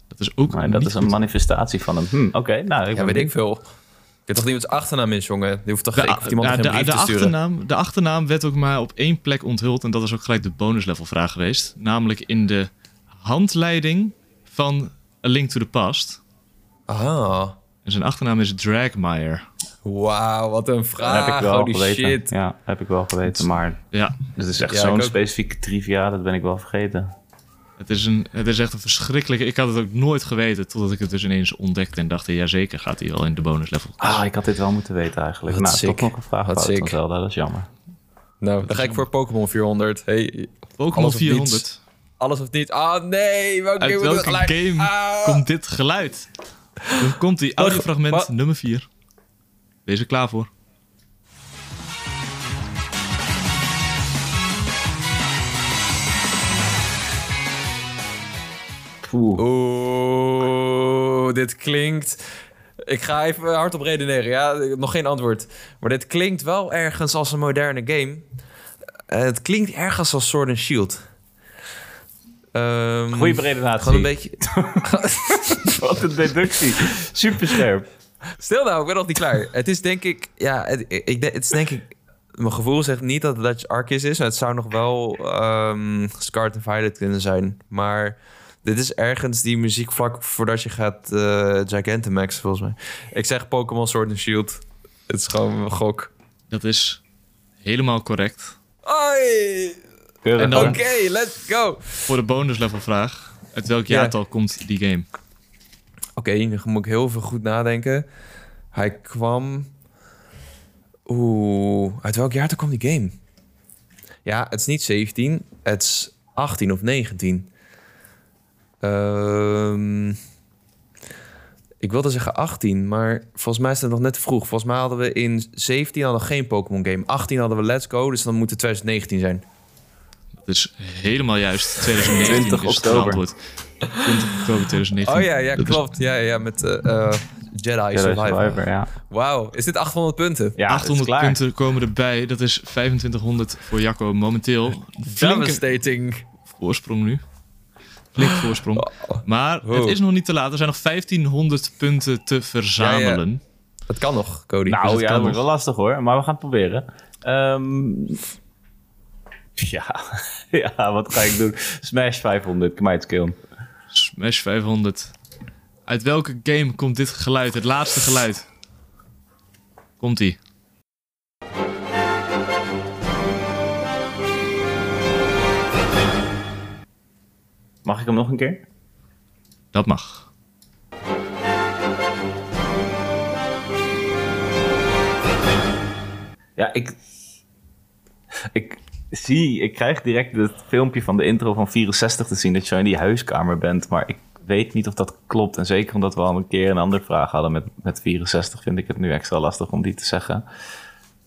Speaker 2: Dat is ook
Speaker 3: Maar dat
Speaker 2: niet
Speaker 3: is een
Speaker 2: goed.
Speaker 3: manifestatie van hem. Hm, Oké, nou, ik
Speaker 1: Ja,
Speaker 3: ben
Speaker 1: weet ik veel. Je hebt toch niet met zijn achternaam is, jongen? Je hoeft toch ik
Speaker 2: De,
Speaker 1: hoef iemand
Speaker 2: ja,
Speaker 1: geen
Speaker 2: de-
Speaker 1: brief
Speaker 2: de
Speaker 1: te sturen?
Speaker 2: achternaam, de achternaam werd ook maar op één plek onthuld. En dat is ook gelijk de bonuslevelvraag geweest. Namelijk in de handleiding van A Link to the Past.
Speaker 1: Ah,
Speaker 2: En zijn achternaam is Dragmire.
Speaker 1: wauw, wat een vraag.
Speaker 3: heb ik wel
Speaker 1: Ah, Holy
Speaker 3: geweten.
Speaker 1: shit.
Speaker 3: Ja, heb ik wel geweten. Maar
Speaker 2: Ja,
Speaker 3: het is echt
Speaker 1: Ja, ik
Speaker 3: zo'n
Speaker 1: ook.
Speaker 3: specifieke trivia, dat ben ik wel vergeten.
Speaker 2: het is, een, het is echt een verschrikkelijke... Ik had het ook nooit geweten totdat ik het dus ineens ontdekte. En dacht, ja zeker gaat hij wel in de bonuslevel.
Speaker 3: Ah, ik had dit wel moeten weten eigenlijk.
Speaker 1: Wat
Speaker 3: nou,
Speaker 1: sick.
Speaker 3: toch nog een vraag
Speaker 1: Wat
Speaker 3: fout van
Speaker 1: sick.
Speaker 3: Zelda, dat is jammer.
Speaker 1: Nou, dan ga ik voor Pokémon 400. Hey,
Speaker 2: Pokémon
Speaker 1: alles of niets.
Speaker 2: 400.
Speaker 1: alles of niet? Ah, nee. Welke
Speaker 2: Uit
Speaker 1: game
Speaker 2: welke
Speaker 1: wordt er gelijk?
Speaker 2: game
Speaker 1: Ah.
Speaker 2: komt dit geluid? Dan komt die audiofragment
Speaker 1: wat?
Speaker 2: nummer 4. Wees er klaar voor.
Speaker 3: Oeh.
Speaker 1: Oeh, dit klinkt. Ik ga even hardop redeneren. Ja, ik heb nog geen antwoord. Maar dit klinkt wel ergens als een moderne game. Eh, het klinkt ergens als Sword and Shield. Ehm,
Speaker 3: Goeie beredenatie.
Speaker 1: Gewoon een beetje.
Speaker 3: (laughs) Wat een deductie. Super scherp.
Speaker 1: Stil nou, ik ben nog niet klaar. Het is denk ik. Ja, het, ik, de- het is denk ik. Mijn gevoel zegt niet dat het Dutch Arceus is. Maar het zou nog wel ehm Scarlet and Violet kunnen zijn. Maar dit is ergens die muziek vlak voordat je gaat eh, Gigantamax, volgens mij. Ik zeg Pokémon Sword and Shield. Het is gewoon een gok.
Speaker 2: Dat is helemaal correct.
Speaker 1: Oi!
Speaker 3: Keurig,
Speaker 2: En dan-
Speaker 1: Oké,
Speaker 3: hoor.
Speaker 1: let's go! Oké,
Speaker 2: Voor de bonuslevelvraag. Uit welk
Speaker 1: Ja.
Speaker 2: jaartal komt die game?
Speaker 1: dan moet ik heel veel goed nadenken. Hij kwam... Oeh, uit welk jaar toen kwam die game? Ja, het is niet 17, het is 18 of 19. Ehm, ik wilde zeggen 18, maar volgens mij is het nog net te vroeg. Volgens mij hadden we in 17 hadden we geen Pokémon game. 18 hadden we Let's Go, dus dan moet het 2019 zijn.
Speaker 2: Dat is helemaal juist. 2019
Speaker 3: 20
Speaker 2: is het
Speaker 3: oktober.
Speaker 2: antwoord. 20 oktober 2019.
Speaker 1: Oh ja, ja
Speaker 2: Dat is
Speaker 1: klopt. Ja, ja, met eh, eh, Jedi,
Speaker 3: Jedi
Speaker 1: Survivor.
Speaker 3: Survivor, ja.
Speaker 1: Wauw, is dit 800 punten?
Speaker 3: Ja,
Speaker 2: 800
Speaker 3: het is klaar.
Speaker 2: punten komen erbij. Dat is 2500 voor Jacco momenteel. Flinke
Speaker 1: Devastating.
Speaker 2: voorsprong nu. Flink voorsprong.
Speaker 3: Oh,
Speaker 2: Maar het
Speaker 1: Wow.
Speaker 2: is nog niet te laat. Er zijn nog 1500 punten te verzamelen.
Speaker 1: Dat kan nog, Cody.
Speaker 2: Dus het
Speaker 3: Nou ja,
Speaker 2: kan
Speaker 3: dat
Speaker 2: nog.
Speaker 3: wordt wel lastig hoor, maar we gaan het proberen. Ehm, (laughs) ja. (laughs) ja, wat ga ik doen? Smash 500, Smite Kill.
Speaker 2: Smash 500. Uit welke game komt dit geluid? Het laatste geluid. Komt ie.
Speaker 3: Mag ik hem nog een keer?
Speaker 2: Dat mag.
Speaker 3: Ja, ik. Ik zie, ik krijg direct het filmpje van de intro van 64 te zien dat je zo in die huiskamer bent, maar ik weet niet of dat klopt. En zeker omdat we al een keer een andere vraag hadden met, met 64, vind ik het nu extra lastig om die te zeggen.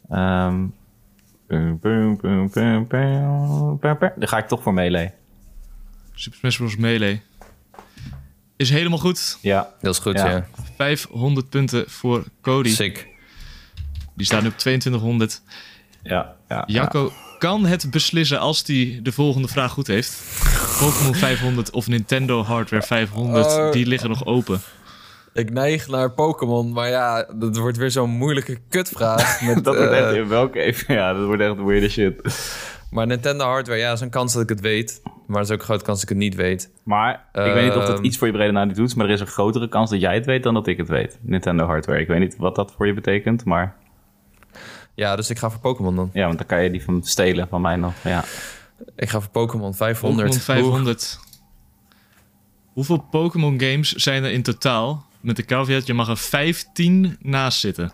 Speaker 3: Ehm, pum, pum, pum, pum, pum, pum, pum. Daar ga ik toch voor melee.
Speaker 2: Super Smash Bros. Melee. Is helemaal goed.
Speaker 3: Ja.
Speaker 1: Dat is goed,
Speaker 3: Ja.
Speaker 1: ja.
Speaker 2: 500 punten voor Cody.
Speaker 1: Sick.
Speaker 2: Die staat nu op 2200.
Speaker 3: Ja, ja.
Speaker 2: Jacco kan het beslissen als hij de volgende vraag goed heeft. Pokémon 500 of Nintendo Hardware 500,
Speaker 1: Oh.
Speaker 2: die liggen nog open.
Speaker 1: Ik neig naar Pokémon, maar ja, dat wordt weer zo'n moeilijke (laughs) kutvraag. Met,
Speaker 3: Dat wordt
Speaker 1: eh,
Speaker 3: echt in welke even. Ja, dat wordt echt weirde shit.
Speaker 1: Maar Nintendo hardware, ja, is een kans dat ik het weet. Maar er is ook een grote kans dat ik het niet weet.
Speaker 3: Maar ik weet niet of dat
Speaker 1: Ehm.
Speaker 3: iets voor je brede nadie doet, maar er is een grotere kans dat jij het weet dan dat ik het weet. Nintendo hardware. Ik weet niet wat dat voor je betekent, maar
Speaker 1: Ja, dus ik ga voor Pokémon dan.
Speaker 3: ja, want dan kan je die van stelen van mij nog. Ja.
Speaker 1: Ik ga voor Pokémon 500.
Speaker 2: Pokémon
Speaker 1: Oeh,
Speaker 2: 500. Hoeveel Pokémon games zijn er in totaal? Met de caveat, je mag er 15 naast zitten.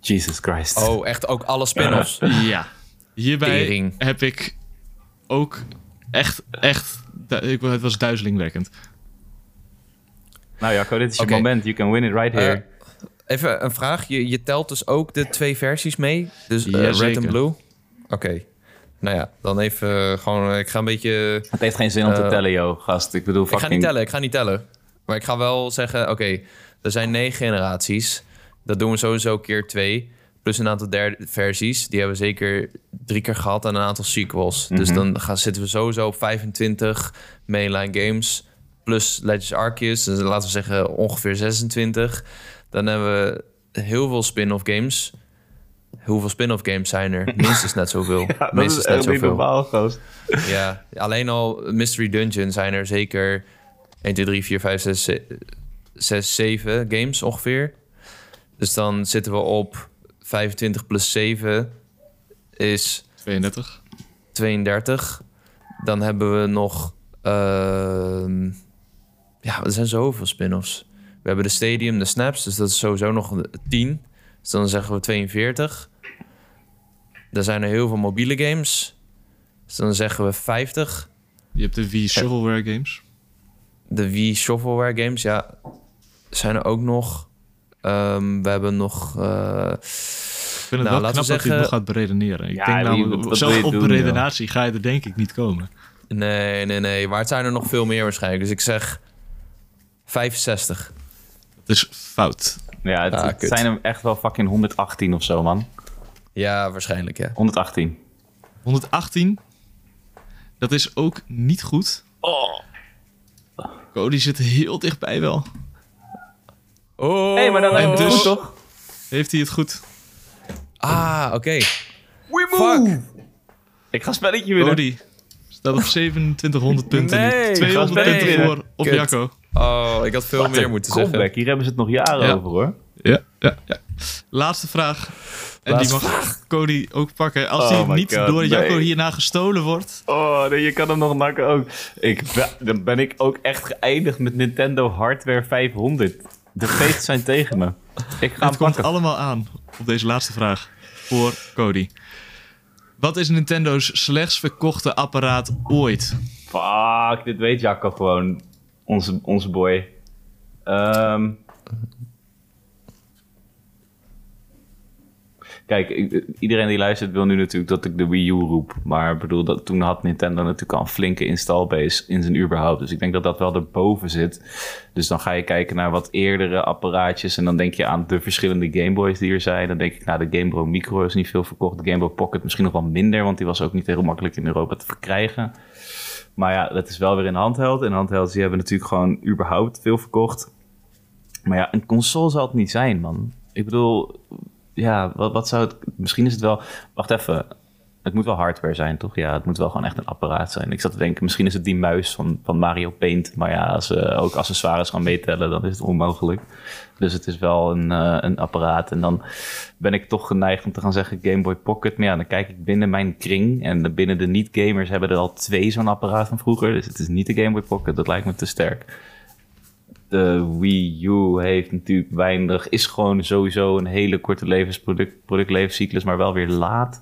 Speaker 3: Jesus Christ.
Speaker 1: Oh, echt ook alle spin-offs.
Speaker 2: Ja. Hierbij
Speaker 1: Tering.
Speaker 2: heb ik ook echt, echt... du- Ik, het was duizelingwekkend.
Speaker 3: Nou Jacco, dit is
Speaker 1: Oké.
Speaker 3: je moment. You can win it right here.
Speaker 1: Eh, even een vraag. Je, je telt dus ook de twee versies mee? Dus eh, red
Speaker 2: Jazeker.
Speaker 1: en blue? Oké. Nou ja, dan even eh, gewoon... eh, Ik ga een beetje...
Speaker 3: het heeft geen zin om te
Speaker 1: eh,
Speaker 3: tellen, joh, gast. Ik bedoel,
Speaker 1: Ik
Speaker 3: fucking...
Speaker 1: ga niet tellen, ik ga niet tellen. Maar ik ga wel zeggen, oké, er zijn negen generaties. Dat doen we sowieso keer twee. Plus een aantal derde versies. Die hebben we zeker drie keer gehad en een aantal sequels.
Speaker 3: Mhm.
Speaker 1: Dus dan gaan, zitten we sowieso op 25 mainline games. Plus Legends Arceus, dus laten we zeggen ongeveer 26. Dan hebben we heel veel spin-off games. Hoeveel spin-off games zijn
Speaker 3: (laughs)
Speaker 1: er? Minstens net zoveel.
Speaker 3: Ja, dat
Speaker 1: Minstens
Speaker 3: is
Speaker 1: net
Speaker 3: echt niet
Speaker 1: zoveel.
Speaker 3: normaal, gast.
Speaker 1: Ja, alleen al Mystery Dungeon zijn er zeker 1, 2, 3, 4, 5, 6, 6, 7 games ongeveer. Dus dan zitten we op 25 plus 7 is
Speaker 2: 32.
Speaker 1: 32. Dan hebben we nog... ehm, ja, er zijn zoveel spin-offs. We hebben de Stadium, de Snaps, dus dat is sowieso nog 10. Dus dan zeggen we 42. Dan zijn er heel veel mobiele games. Dus dan zeggen we 50.
Speaker 2: Je hebt de Wii Shovelware games.
Speaker 1: De Wii Shovelware games, ja, zijn er ook nog. Ehm, we hebben nog... eh,
Speaker 2: Ik vind het
Speaker 1: Nou,
Speaker 2: wel knap
Speaker 1: laten we
Speaker 2: dat hij het
Speaker 1: zeggen-
Speaker 2: nog gaat beredeneren. Ik
Speaker 3: Ja,
Speaker 2: denk
Speaker 3: wie-
Speaker 2: nou,
Speaker 3: wat wil
Speaker 2: zelf
Speaker 3: je
Speaker 2: op
Speaker 3: doen,
Speaker 2: beredenatie ga je er denk ik niet komen.
Speaker 1: nee, nee, nee. Maar het zijn er nog veel meer waarschijnlijk. Dus ik zeg 65.
Speaker 2: Het is fout.
Speaker 3: Ja, het,
Speaker 1: Ah,
Speaker 3: het
Speaker 1: kut.
Speaker 3: zijn er echt wel fucking 118 of zo, man.
Speaker 1: Ja, waarschijnlijk, ja.
Speaker 3: 118.
Speaker 2: 118. Dat is ook niet goed. Oh. Cody zit heel dichtbij wel.
Speaker 1: Oh!
Speaker 3: Hé, maar dan
Speaker 2: en
Speaker 3: hebben we
Speaker 2: dus-
Speaker 3: goed, toch?
Speaker 2: Heeft hij het goed?
Speaker 1: Ah, oké. Fuck!
Speaker 3: Ik ga een spelletje winnen.
Speaker 2: Cody staat op 2700 punten. nu.
Speaker 1: Nee,
Speaker 2: 200
Speaker 3: gast, nee.
Speaker 2: punten voor op
Speaker 1: Kut.
Speaker 2: Jacco.
Speaker 1: Oh, ik had veel
Speaker 3: Wat
Speaker 1: meer
Speaker 3: een
Speaker 1: moeten
Speaker 3: comeback.
Speaker 1: zeggen.
Speaker 3: Hier hebben ze het nog jaren
Speaker 2: Ja.
Speaker 3: over, hoor.
Speaker 2: Ja, ja, ja. Laatste vraag. En
Speaker 1: Laatste
Speaker 2: die mag Cody ook pakken. Als
Speaker 3: Oh
Speaker 2: hij
Speaker 3: my
Speaker 2: niet
Speaker 3: God,
Speaker 2: door Jacco
Speaker 3: nee.
Speaker 2: hierna gestolen wordt.
Speaker 3: Oh, nee, je kan hem nog nakken ook. Ik, ben- dan ben ik ook echt geëindigd met Nintendo Hardware 500. De feesten zijn tegen me. Ik ga
Speaker 2: Het
Speaker 3: hem
Speaker 2: komt
Speaker 3: pakken.
Speaker 2: allemaal aan op deze laatste vraag voor Cody. Wat is Nintendo's slechts verkochte apparaat ooit?
Speaker 3: Fuck, dit weet Jacco gewoon. Onze, onze boy. Ehm. Kijk, ik- iedereen die luistert wil nu natuurlijk dat ik de Wii U roep. Maar ik bedoel, dat, toen had Nintendo natuurlijk al een flinke installbase in zijn überhaupt. Dus ik denk dat dat wel erboven zit. Dus dan ga je kijken naar wat eerdere apparaatjes. En dan denk je aan de verschillende Game Boys die er zijn. Dan denk ik, nou, de Game Boy Micro is niet veel verkocht. De Game Boy Pocket misschien nog wel minder, want die was ook niet heel makkelijk in Europa te verkrijgen. Maar ja, dat is wel weer in handheld. En handhelds die hebben natuurlijk gewoon überhaupt veel verkocht. Maar ja, een console zal het niet zijn, man. Ik bedoel, ja, wat, wat zou het... Misschien is het wel... Wacht even. Het moet wel hardware zijn, toch? Ja, het moet wel gewoon echt een apparaat zijn. Ik zat te denken, misschien is het die muis van, van Mario Paint. Maar ja, als ze ook accessoires gaan meetellen, dan is het onmogelijk. Dus het is wel een, eh, een apparaat. En dan ben ik toch geneigd om te gaan zeggen Game Boy Pocket. Maar ja, dan kijk ik binnen mijn kring. En binnen de niet-gamers hebben er al twee zo'n apparaat van vroeger. Dus het is niet de Game Boy Pocket. Dat lijkt me te sterk. De Wii U heeft natuurlijk weinig. Is gewoon sowieso een hele korte levensproduct, productlevenscyclus, maar wel weer laat.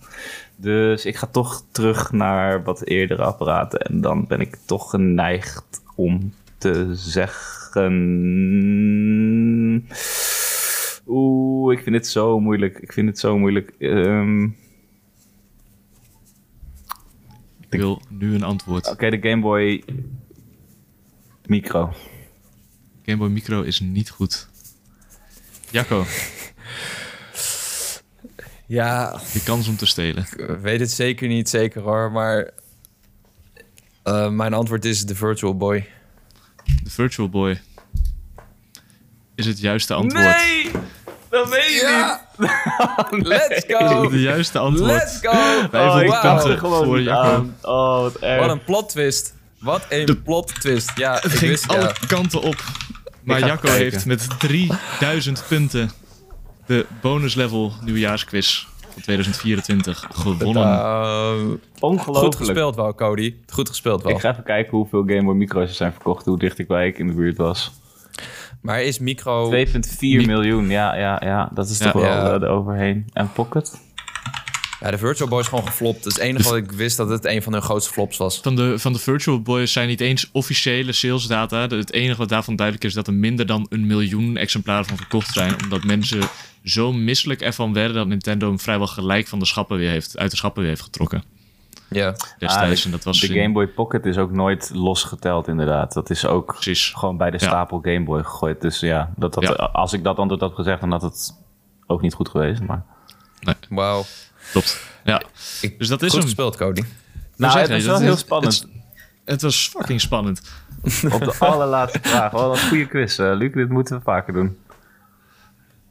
Speaker 3: Dus ik ga toch terug naar wat eerdere apparaten. En dan ben ik toch geneigd om te zeggen. Oeh, ik vind het zo moeilijk. Ik vind het zo moeilijk. Ehm,
Speaker 2: Ik wil nu een antwoord.
Speaker 3: Oké, de Game Boy Micro.
Speaker 2: Game Boy Micro is niet goed. Jacco,
Speaker 1: Ja,
Speaker 2: Die kans om te stelen.
Speaker 1: ik weet het zeker niet zeker hoor, maar... eh, mijn antwoord is de Virtual Boy.
Speaker 2: De Virtual Boy. Is het juiste antwoord?
Speaker 3: Dat weet je
Speaker 1: Ja! (laughs) Let's
Speaker 2: Is
Speaker 1: go!
Speaker 3: (laughs)
Speaker 2: het de juiste antwoord?
Speaker 1: Let's go! Oh,
Speaker 2: Vijfhonderd
Speaker 1: wauw.
Speaker 2: punten. voor Jacco.
Speaker 3: Oh, wat erg.
Speaker 1: Wat een plot twist. Wat een
Speaker 2: Eh, De-
Speaker 1: plot twist.
Speaker 2: (laughs)
Speaker 1: Ja, ik
Speaker 2: Het ging
Speaker 1: wist,
Speaker 2: alle
Speaker 1: ja.
Speaker 2: kanten op. Maar
Speaker 3: ga
Speaker 2: Jacco
Speaker 3: kijken.
Speaker 2: heeft met 3000 punten de bonus level nieuwjaarsquiz van 2024 gewonnen.
Speaker 1: Eh, goed
Speaker 3: Ongelooflijk.
Speaker 1: gespeeld wel, Cody. Goed gespeeld wel.
Speaker 3: Ik ga even kijken hoeveel Game Boy Micro's er zijn verkocht, hoe dicht ik bij ik in de buurt was. 2,4
Speaker 1: Maar is micro...
Speaker 3: miljoen, ja, ja, ja. Dat is
Speaker 2: Ja.
Speaker 3: toch wel
Speaker 1: Ja.
Speaker 3: eh, eroverheen. En Pocket?
Speaker 1: Ja, de Virtual Boy is gewoon geflopt. Dat is het
Speaker 2: Dus-
Speaker 1: enige wat ik wist dat het een van hun grootste flops was.
Speaker 2: Van de, van de Virtual Boys zijn niet eens officiële salesdata. De- Het enige wat daarvan duidelijk is dat er minder dan een miljoen exemplaren van verkocht zijn. Omdat mensen zo misselijk ervan werden dat Nintendo hem vrijwel gelijk van de schappen weer heeft, uit de schappen weer heeft getrokken.
Speaker 1: Ja.
Speaker 2: Destijds.
Speaker 3: Ah,
Speaker 2: en dat was
Speaker 3: De
Speaker 2: in-
Speaker 3: Game Boy Pocket is ook nooit losgeteld, inderdaad. Dat is ook
Speaker 2: Precies.
Speaker 3: gewoon bij de
Speaker 2: Ja.
Speaker 3: stapel Game Boy gegooid. Dus ja, dat, dat,
Speaker 2: Ja.
Speaker 3: als ik dat antwoord had gezegd, dan had het ook niet goed geweest. Maar...
Speaker 2: Nee,
Speaker 1: Wauw.
Speaker 2: klopt. Ja.
Speaker 1: Ik-
Speaker 2: Dus dat is
Speaker 1: Goed
Speaker 2: hem.
Speaker 1: gespeeld, Cody.
Speaker 2: Maar
Speaker 3: Nou,
Speaker 2: zeg
Speaker 3: het
Speaker 2: jij,
Speaker 3: is
Speaker 2: dat-
Speaker 3: wel heel
Speaker 2: het-
Speaker 3: spannend.
Speaker 2: Het was fucking spannend.
Speaker 3: Op de (laughs) allerlaatste vraag. Wat een goede quiz, eh, Luc. Dit moeten we vaker doen.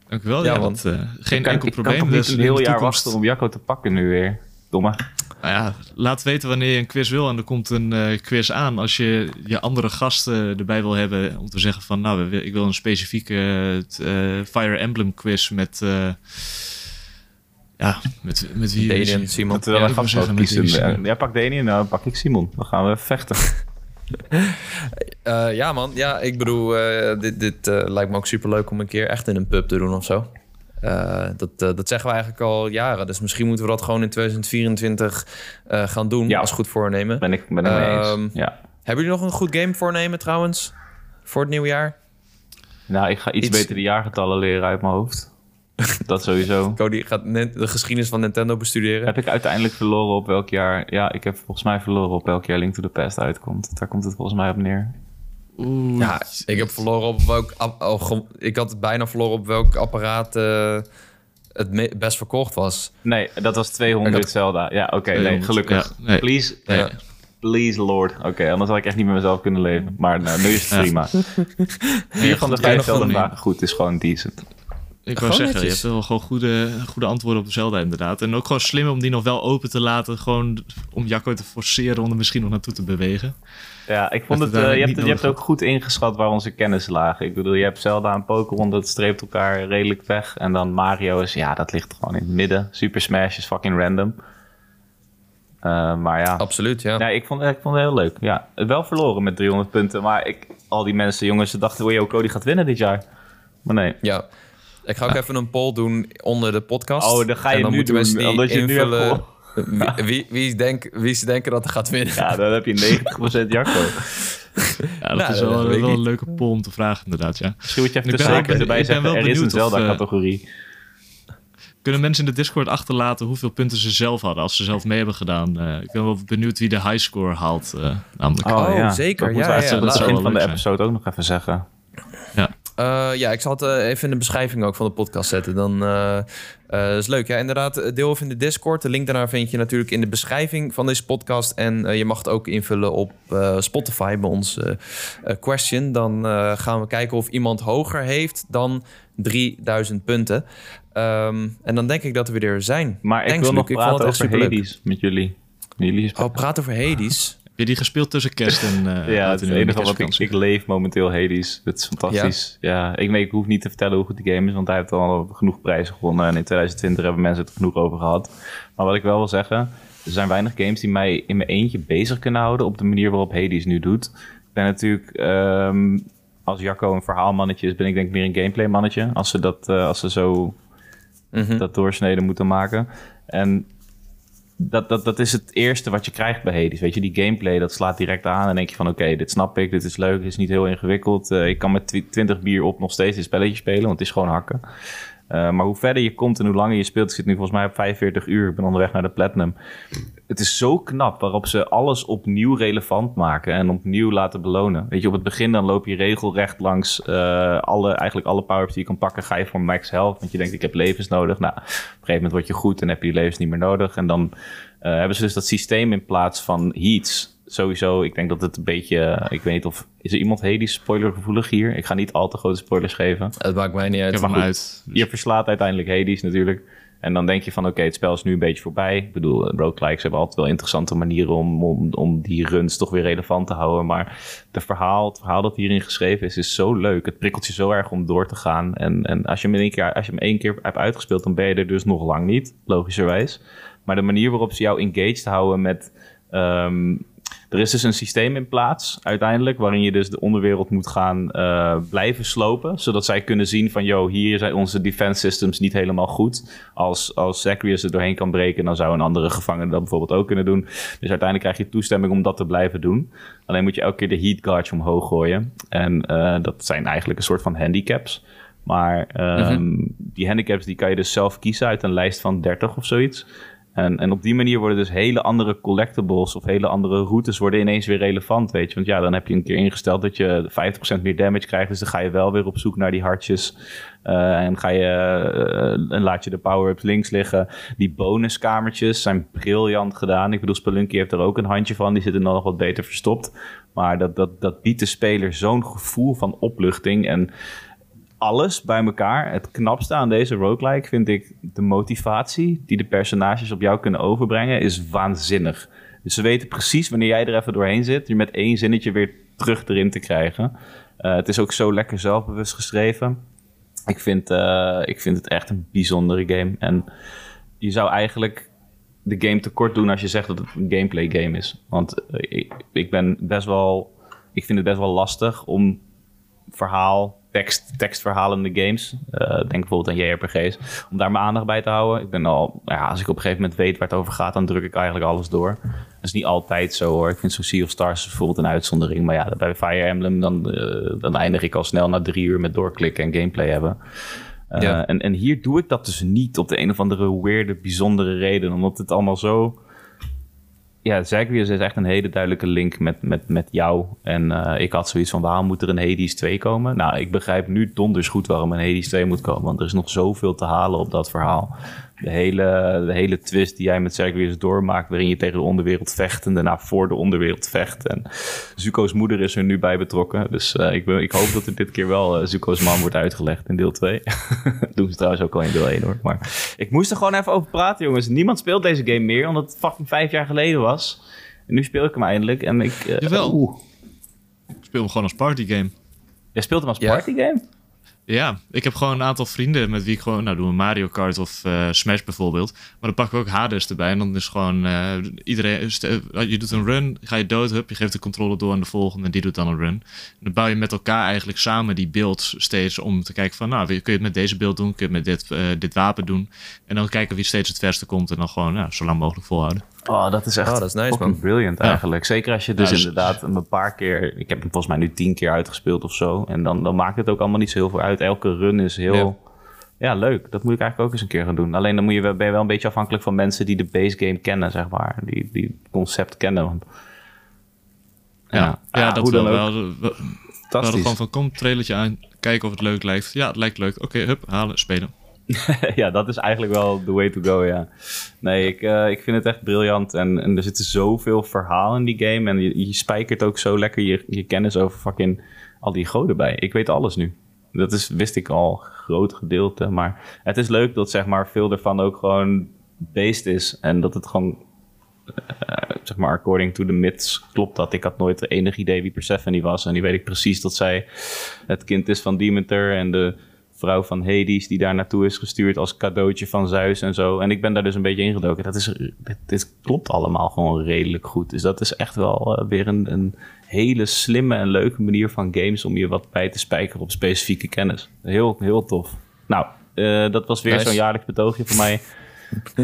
Speaker 2: Dankjewel.
Speaker 1: Ja,
Speaker 2: Ja,
Speaker 1: want-
Speaker 2: want eh, geen
Speaker 3: Kijk,
Speaker 2: enkel
Speaker 3: ik
Speaker 2: probleem.
Speaker 3: kan toch
Speaker 2: dus
Speaker 3: niet
Speaker 2: in
Speaker 3: een heel
Speaker 2: de
Speaker 3: jaar
Speaker 2: toekomst-
Speaker 3: wachten om Jacco te pakken nu weer. Domme.
Speaker 2: Nou ja, laat weten wanneer je een quiz wil en er komt een eh, quiz aan. Als je je andere gasten erbij wil hebben om te zeggen van... nou, we wil- ik wil een specifieke eh, t- eh, Fire Emblem quiz met... eh, ja, met, met wie...
Speaker 1: Deden, Simon.
Speaker 3: Terwijl
Speaker 2: Ja,
Speaker 3: we
Speaker 2: ik wou zeggen,
Speaker 3: gaan zeggen,
Speaker 2: met die
Speaker 3: kiezen.
Speaker 2: Simon.
Speaker 3: Jij pakt Dani en dan pak ik Simon. Dan gaan we vechten.
Speaker 1: Eh, ja, man. Ja, ik bedoel, eh, dit, dit eh, lijkt me ook superleuk om een keer echt in een pub te doen of zo. Eh, dat, eh, dat zeggen we eigenlijk al jaren. Dus misschien moeten we dat gewoon in 2024 eh, gaan doen.
Speaker 3: Ja.
Speaker 1: Als goed voornemen.
Speaker 3: Ben ik, ben ik mee
Speaker 1: Ehm,
Speaker 3: eens. Ja.
Speaker 1: Hebben jullie nog een goed game voornemen trouwens? Voor het nieuwe jaar?
Speaker 3: Nou, ik ga iets,
Speaker 1: iets-
Speaker 3: beter de jaargetallen leren uit
Speaker 2: (laughs)
Speaker 3: mijn hoofd. Dat sowieso.
Speaker 1: Cody gaat net de geschiedenis van Nintendo bestuderen.
Speaker 3: Heb ik uiteindelijk verloren op welk jaar... Ja, ik heb volgens mij verloren op welk jaar Link to the Past uitkomt. Daar komt het volgens mij op neer. eh?
Speaker 2: Oeh,
Speaker 1: Ja, ik heb verloren op welk. ap- oh, ge- ik had bijna verloren op welk apparaat eh, het me- best verkocht was.
Speaker 3: Nee, dat was 200
Speaker 1: Ik had-
Speaker 3: Zelda. Ja, oké, nee,
Speaker 2: 200,
Speaker 3: gelukkig.
Speaker 2: ja, nee.
Speaker 3: Please, eh,
Speaker 2: Nee.
Speaker 1: Ja.
Speaker 3: please Lord. Oké, anders had ik echt niet met mezelf kunnen leven. Maar nou, nu is het
Speaker 2: Ja.
Speaker 3: prima. Vier van de
Speaker 2: goed,
Speaker 1: jij
Speaker 3: vijf
Speaker 1: nog
Speaker 3: Zelda
Speaker 1: een-
Speaker 3: vragen goed is gewoon decent.
Speaker 2: Ik wou
Speaker 1: Gewoon
Speaker 2: zeggen, je
Speaker 1: netjes.
Speaker 2: hebt wel gewoon goede, goede antwoorden op Zelda inderdaad. En ook gewoon slim om die nog wel open te laten. Gewoon om Jacco te forceren om er misschien nog naartoe te bewegen.
Speaker 3: Ja, ik vond
Speaker 2: Dat
Speaker 3: het,
Speaker 2: het
Speaker 3: eh,
Speaker 2: daar
Speaker 3: je, hebt,
Speaker 2: niet
Speaker 3: je hebt
Speaker 2: nodig
Speaker 3: ook goed ingeschat waar onze kennis lagen. Ik bedoel, je hebt Zelda en Pokémon, dat streept elkaar redelijk weg. En dan Mario is, ja, dat ligt gewoon in het midden. Super Smash is fucking random. Eh, maar ja,
Speaker 1: Absoluut, ja.
Speaker 3: Nee, ik vond, ik vond het heel leuk. Ja, wel verloren met 300 punten. Maar ik, al die mensen, jongens, ze dachten, "Wow, joh, Cody gaat winnen dit jaar. Maar nee.
Speaker 1: ja. Ik ga ook even een poll doen onder de podcast.
Speaker 3: Oh, dat ga je
Speaker 1: En dan
Speaker 3: nu
Speaker 1: moeten
Speaker 3: doen,
Speaker 1: mensen die
Speaker 3: omdat je het nu hebt
Speaker 1: invullen wie, wie, wie, denk, wie ze denken dat er gaat winnen.
Speaker 3: Ja, dan heb je 90% Jacco.
Speaker 2: Ja, dat
Speaker 1: Nou,
Speaker 2: is
Speaker 1: dat
Speaker 2: wel,
Speaker 1: weet ik
Speaker 2: wel
Speaker 1: niet.
Speaker 2: een leuke poll om te vragen inderdaad, ja.
Speaker 3: Misschien moet je even
Speaker 2: Ik ben
Speaker 3: tussen
Speaker 2: wel-
Speaker 3: haakjes
Speaker 2: ik
Speaker 3: erbij
Speaker 2: ben
Speaker 3: zeggen,
Speaker 2: wel
Speaker 3: er is een
Speaker 2: benieuwd of, eh,
Speaker 3: Zelda-categorie.
Speaker 2: Kunnen mensen in de Discord achterlaten hoeveel punten ze zelf hadden als ze zelf mee hebben gedaan? Eh, ik ben wel benieuwd wie de highscore haalt, eh, namelijk.
Speaker 1: Oh, zeker,
Speaker 3: Dat moeten
Speaker 1: ja,
Speaker 3: we
Speaker 1: ja,
Speaker 3: aan het
Speaker 2: dat zou wel
Speaker 3: begin van de
Speaker 2: leuk zijn.
Speaker 3: episode ook nog even zeggen.
Speaker 1: Eh, ja, ik zal het eh, even in de beschrijving ook van de podcast zetten. Dan eh, eh, is leuk. Ja, inderdaad, deel even in de Discord. De link daarnaar vind je natuurlijk in de beschrijving van deze podcast. En eh, je mag het ook invullen op eh, Spotify bij ons eh, eh, question. Dan eh, gaan we kijken of iemand hoger heeft dan 3000 punten. Ehm, en dan denk ik dat we er zijn.
Speaker 3: Maar ik
Speaker 1: Thanks,
Speaker 3: wil nog
Speaker 1: Luc. vond
Speaker 3: praten
Speaker 1: het echt
Speaker 3: over
Speaker 1: superleuk.
Speaker 3: Hades met jullie. Jullie is
Speaker 1: Oh, praat over Hades.
Speaker 2: Heb je die gespeeld tussen kerst en... eh,
Speaker 3: (laughs) ja,
Speaker 2: oud en
Speaker 3: het is
Speaker 2: nieuw
Speaker 3: het
Speaker 2: in de
Speaker 3: enige wat ik,
Speaker 2: kerstvakantie?
Speaker 3: ik leef momenteel Hades. Dat is fantastisch. Ja, ik, weet, ik hoef niet te vertellen hoe goed die game is, want hij heeft al genoeg prijzen gewonnen. En in 2020 hebben mensen het er genoeg over gehad. Maar wat ik wel wil zeggen, er zijn weinig games die mij in mijn eentje bezig kunnen houden op de manier waarop Hades nu doet. Ik ben natuurlijk, ehm, als Jacco een verhaalmannetje is, ben ik denk ik meer een gameplaymannetje. Als ze dat, eh, als ze zo
Speaker 1: Mhm.
Speaker 3: dat doorsneden moeten maken. En dat, dat, dat is het eerste wat je krijgt bij Hades. Weet je, die gameplay, dat slaat direct aan. En denk je van, oké, dit snap ik, dit is leuk, dit is niet heel ingewikkeld. Eh, ik kan met twi- 20 bier op nog steeds dit spelletje spelen, want het is gewoon hakken. Eh, Eh, maar hoe verder je komt en hoe langer je speelt, ik zit nu volgens mij op 45 uur, ik ben onderweg naar de Platinum. Het is zo knap waarop ze alles opnieuw relevant maken en opnieuw laten belonen. Weet je, op het begin dan loop je regelrecht langs eh, alle, eigenlijk alle power-ups die je kan pakken, ga je voor max health, want je denkt ik heb levens nodig. Nou, op een gegeven moment word je goed en heb je die levens niet meer nodig. En dan eh, hebben ze dus dat systeem in plaats van heats. Sowieso, ik denk dat het een beetje, eh, ik weet niet of, is er iemand Hades spoilergevoelig hier? Ik ga niet al te grote spoilers geven.
Speaker 1: Het maakt mij niet
Speaker 2: Ik
Speaker 1: uit.
Speaker 2: heb hem uit.
Speaker 3: Je verslaat uiteindelijk Hades natuurlijk. En dan denk je van oké, het spel is nu een beetje voorbij. Ik bedoel, eh, roguelikes hebben altijd wel interessante manieren om, om, om die runs toch weer relevant te houden. Maar de verhaal, het verhaal dat hierin geschreven is, is zo leuk. Het prikkelt je zo erg om door te gaan. En, en als, je hem in één keer, als je hem één keer hebt uitgespeeld, dan ben je er dus nog lang niet, logischerwijs. Maar de manier waarop ze jou engaged houden met... ehm, er is dus een systeem in plaats, uiteindelijk, waarin je dus de onderwereld moet gaan eh, blijven slopen. Zodat zij kunnen zien van, yo, hier zijn onze defense systems niet helemaal goed. Als, als Zacharias er doorheen kan breken, dan zou een andere gevangene dat bijvoorbeeld ook kunnen doen. Dus uiteindelijk krijg je toestemming om dat te blijven doen. Alleen moet je elke keer de heat guards omhoog gooien. En eh, dat zijn eigenlijk een soort van handicaps. Maar ehm, die handicaps die kan je dus zelf kiezen uit een lijst van 30 of zoiets. En, en op die manier worden dus hele andere collectibles of hele andere routes worden ineens weer relevant, weet je. Want ja, dan heb je een keer ingesteld dat je 50% meer damage krijgt, dus dan ga je wel weer op zoek naar die hartjes. Eh, en ga je, eh, en laat je de power-ups links liggen. Die bonuskamertjes zijn briljant gedaan. Ik bedoel, Spelunky heeft er ook een handje van, die zitten dan nog wat beter verstopt. Maar dat, dat, dat biedt de speler zo'n gevoel van opluchting en alles bij elkaar. Het knapste aan deze roguelike vind ik de motivatie die de personages op jou kunnen overbrengen is waanzinnig. Dus ze weten precies wanneer jij er even doorheen zit, je met één zinnetje weer terug erin te krijgen. Eh, het is ook zo lekker zelfbewust geschreven. Ik vind, eh, ik vind het echt een bijzondere game. En je zou eigenlijk de game tekort doen als je zegt dat het een gameplay game is. Want eh, ik, ik ben best wel. Ik vind het best wel lastig om verhaal, tekst, tekstverhalende games. eh, denk bijvoorbeeld aan JRPG's. Om daar mijn aandacht bij te houden. Ik ben al, nou ja, als ik op een gegeven moment weet waar het over gaat, dan druk ik eigenlijk alles door. Dat is niet altijd zo hoor. Ik vind zo'n Sea of Stars bijvoorbeeld een uitzondering. Maar ja, bij Fire Emblem dan, eh, dan eindig ik al snel na drie uur met doorklikken en gameplay hebben. Eh,
Speaker 1: Ja.
Speaker 3: en, en hier doe ik dat dus niet op de een of andere weirde, bijzondere reden. Omdat het allemaal zo ja, Zagreus is echt een hele duidelijke link met, met, met jou. En eh, ik had zoiets van, waarom moet er een Hades 2 komen? Nou, ik begrijp nu donders goed waarom een Hades 2 moet komen. Want er is nog zoveel te halen op dat verhaal. De hele, de hele twist die jij met Zagreus doormaakt... waarin je tegen de onderwereld vecht en daarna voor de onderwereld vecht. En Zuko's moeder is er nu bij betrokken. Dus eh, ik, wil, ik hoop dat er dit keer wel eh, Zuko's man wordt uitgelegd in deel 2. (laughs) Doen ze trouwens ook al in deel 1 hoor. Maar ik moest er gewoon even over praten, jongens. Niemand speelt deze game meer, omdat het fucking vijf jaar geleden was. En nu speel ik hem eindelijk. En ik. eh,
Speaker 2: Jawel.
Speaker 3: Oeh.
Speaker 2: Ik speel hem gewoon als partygame.
Speaker 3: Jij speelt hem als
Speaker 1: Ja.
Speaker 3: partygame?
Speaker 2: Ja, ik heb gewoon een aantal vrienden met wie ik gewoon, nou doen we Mario Kart of eh, Smash bijvoorbeeld. Maar dan pakken we ook Hades erbij en dan is gewoon eh, iedereen, st- eh, je doet een run, ga je dood, hup, je geeft de controle door aan de volgende en die doet dan een run. En dan bouw je met elkaar eigenlijk samen die builds steeds om te kijken van, nou kun je het met deze beeld doen, kun je het met dit, eh, dit wapen doen. En dan kijken wie steeds het verste komt en dan gewoon nou, zo lang mogelijk volhouden.
Speaker 3: Oh, dat is echt
Speaker 1: Oh, dat is nice,
Speaker 3: fucking
Speaker 1: man.
Speaker 3: brilliant eigenlijk. Zeker als je dus
Speaker 2: Ja, dus-
Speaker 3: inderdaad een paar keer... Ik heb hem volgens mij nu tien keer uitgespeeld of zo. En dan, dan maakt het ook allemaal niet zo heel veel uit. Elke run is heel... Ja. leuk. Dat moet ik eigenlijk ook eens een keer gaan doen. Alleen dan moet je, wel- ben je wel een beetje afhankelijk van mensen die de base game kennen, zeg maar. Die, die het concept kennen. Want... Ah,
Speaker 2: Ja, ja, dat
Speaker 3: hoe dan
Speaker 2: wel. wel.
Speaker 3: ook.
Speaker 2: We- We hadden
Speaker 3: Fantastisch.
Speaker 2: gewoon van, kom, trailertje aan, kijken of het leuk lijkt. Ja, het lijkt leuk. Oké, hup, halen, spelen.
Speaker 3: (laughs) ja, dat is eigenlijk wel the way to go, ja. Nee, ik, eh, ik vind het echt briljant. En, en er zit zoveel verhaal in die game. En je, je spijkert ook zo lekker je, je kennis over fucking al die goden bij. Ik weet alles nu. Dat is, wist ik al, groot gedeelte. Maar het is leuk dat zeg maar, veel ervan ook gewoon based is. En dat het gewoon, eh, zeg maar, according to the myths klopt dat. Ik had nooit enig idee wie Persephone was. En die weet ik precies dat zij het kind is van Demeter en de vrouw van Hades die daar naartoe is gestuurd als cadeautje van Zeus en zo. En ik ben daar dus een beetje ingedoken. Dat is, dit, dit klopt allemaal gewoon redelijk goed. Dus dat is echt wel eh, weer een, een hele slimme en leuke manier van games om je wat bij te spijkeren op specifieke kennis. Heel, heel tof. Nou, eh, dat was weer
Speaker 1: Nice.
Speaker 3: zo'n jaarlijks betoogje voor mij.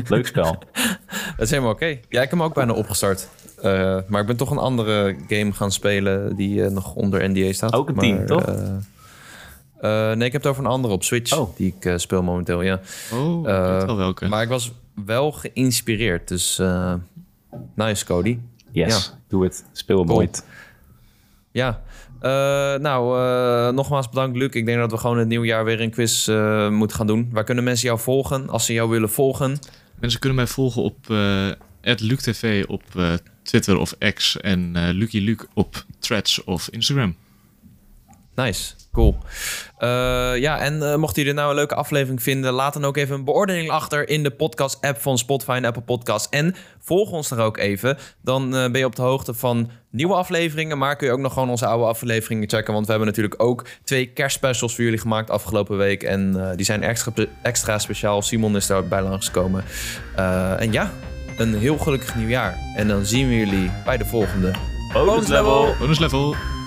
Speaker 3: Leuk spel.
Speaker 1: Dat is helemaal oké. Ja, ik heb hem ook bijna opgestart. Eh, maar ik ben toch een andere game gaan spelen die eh, nog onder NDA staat.
Speaker 3: Ook een
Speaker 1: Maar,
Speaker 3: team, toch?
Speaker 1: eh, Eh, nee, ik heb het over een andere op Switch
Speaker 3: Oh.
Speaker 1: die ik eh, speel momenteel, ja.
Speaker 2: Oh,
Speaker 1: Eh,
Speaker 2: ik weet wel welke.
Speaker 1: Maar ik was wel geïnspireerd, dus eh, nice Cody.
Speaker 3: Yes, doe het. Speel hem
Speaker 1: Cool.
Speaker 3: ooit.
Speaker 1: Ja, Eh, nou, eh, nogmaals bedankt Luc. Ik denk dat we gewoon het nieuwjaar weer een quiz eh, moeten gaan doen. Waar kunnen mensen jou volgen als ze jou willen volgen?
Speaker 2: Mensen kunnen mij volgen op eh @luctv op eh, Twitter of X en eh Lucky Luke op Threads of Instagram.
Speaker 1: Nice, cool. Eh, ja, en eh, mocht je dit nou een leuke aflevering vinden, laat dan ook even een beoordeling achter in de podcast-app van Spotify en Apple Podcasts. En volg ons er ook even. Dan eh, ben je op de hoogte van nieuwe afleveringen, maar kun je ook nog gewoon onze oude afleveringen checken. Want we hebben natuurlijk ook twee kerstspecials voor jullie gemaakt afgelopen week. En eh, die zijn extra, extra speciaal. Simon is daar ook bij langsgekomen. Eh en ja, een heel gelukkig nieuwjaar. En dan zien we jullie bij de volgende.
Speaker 3: Bonus level.
Speaker 2: Bonus level!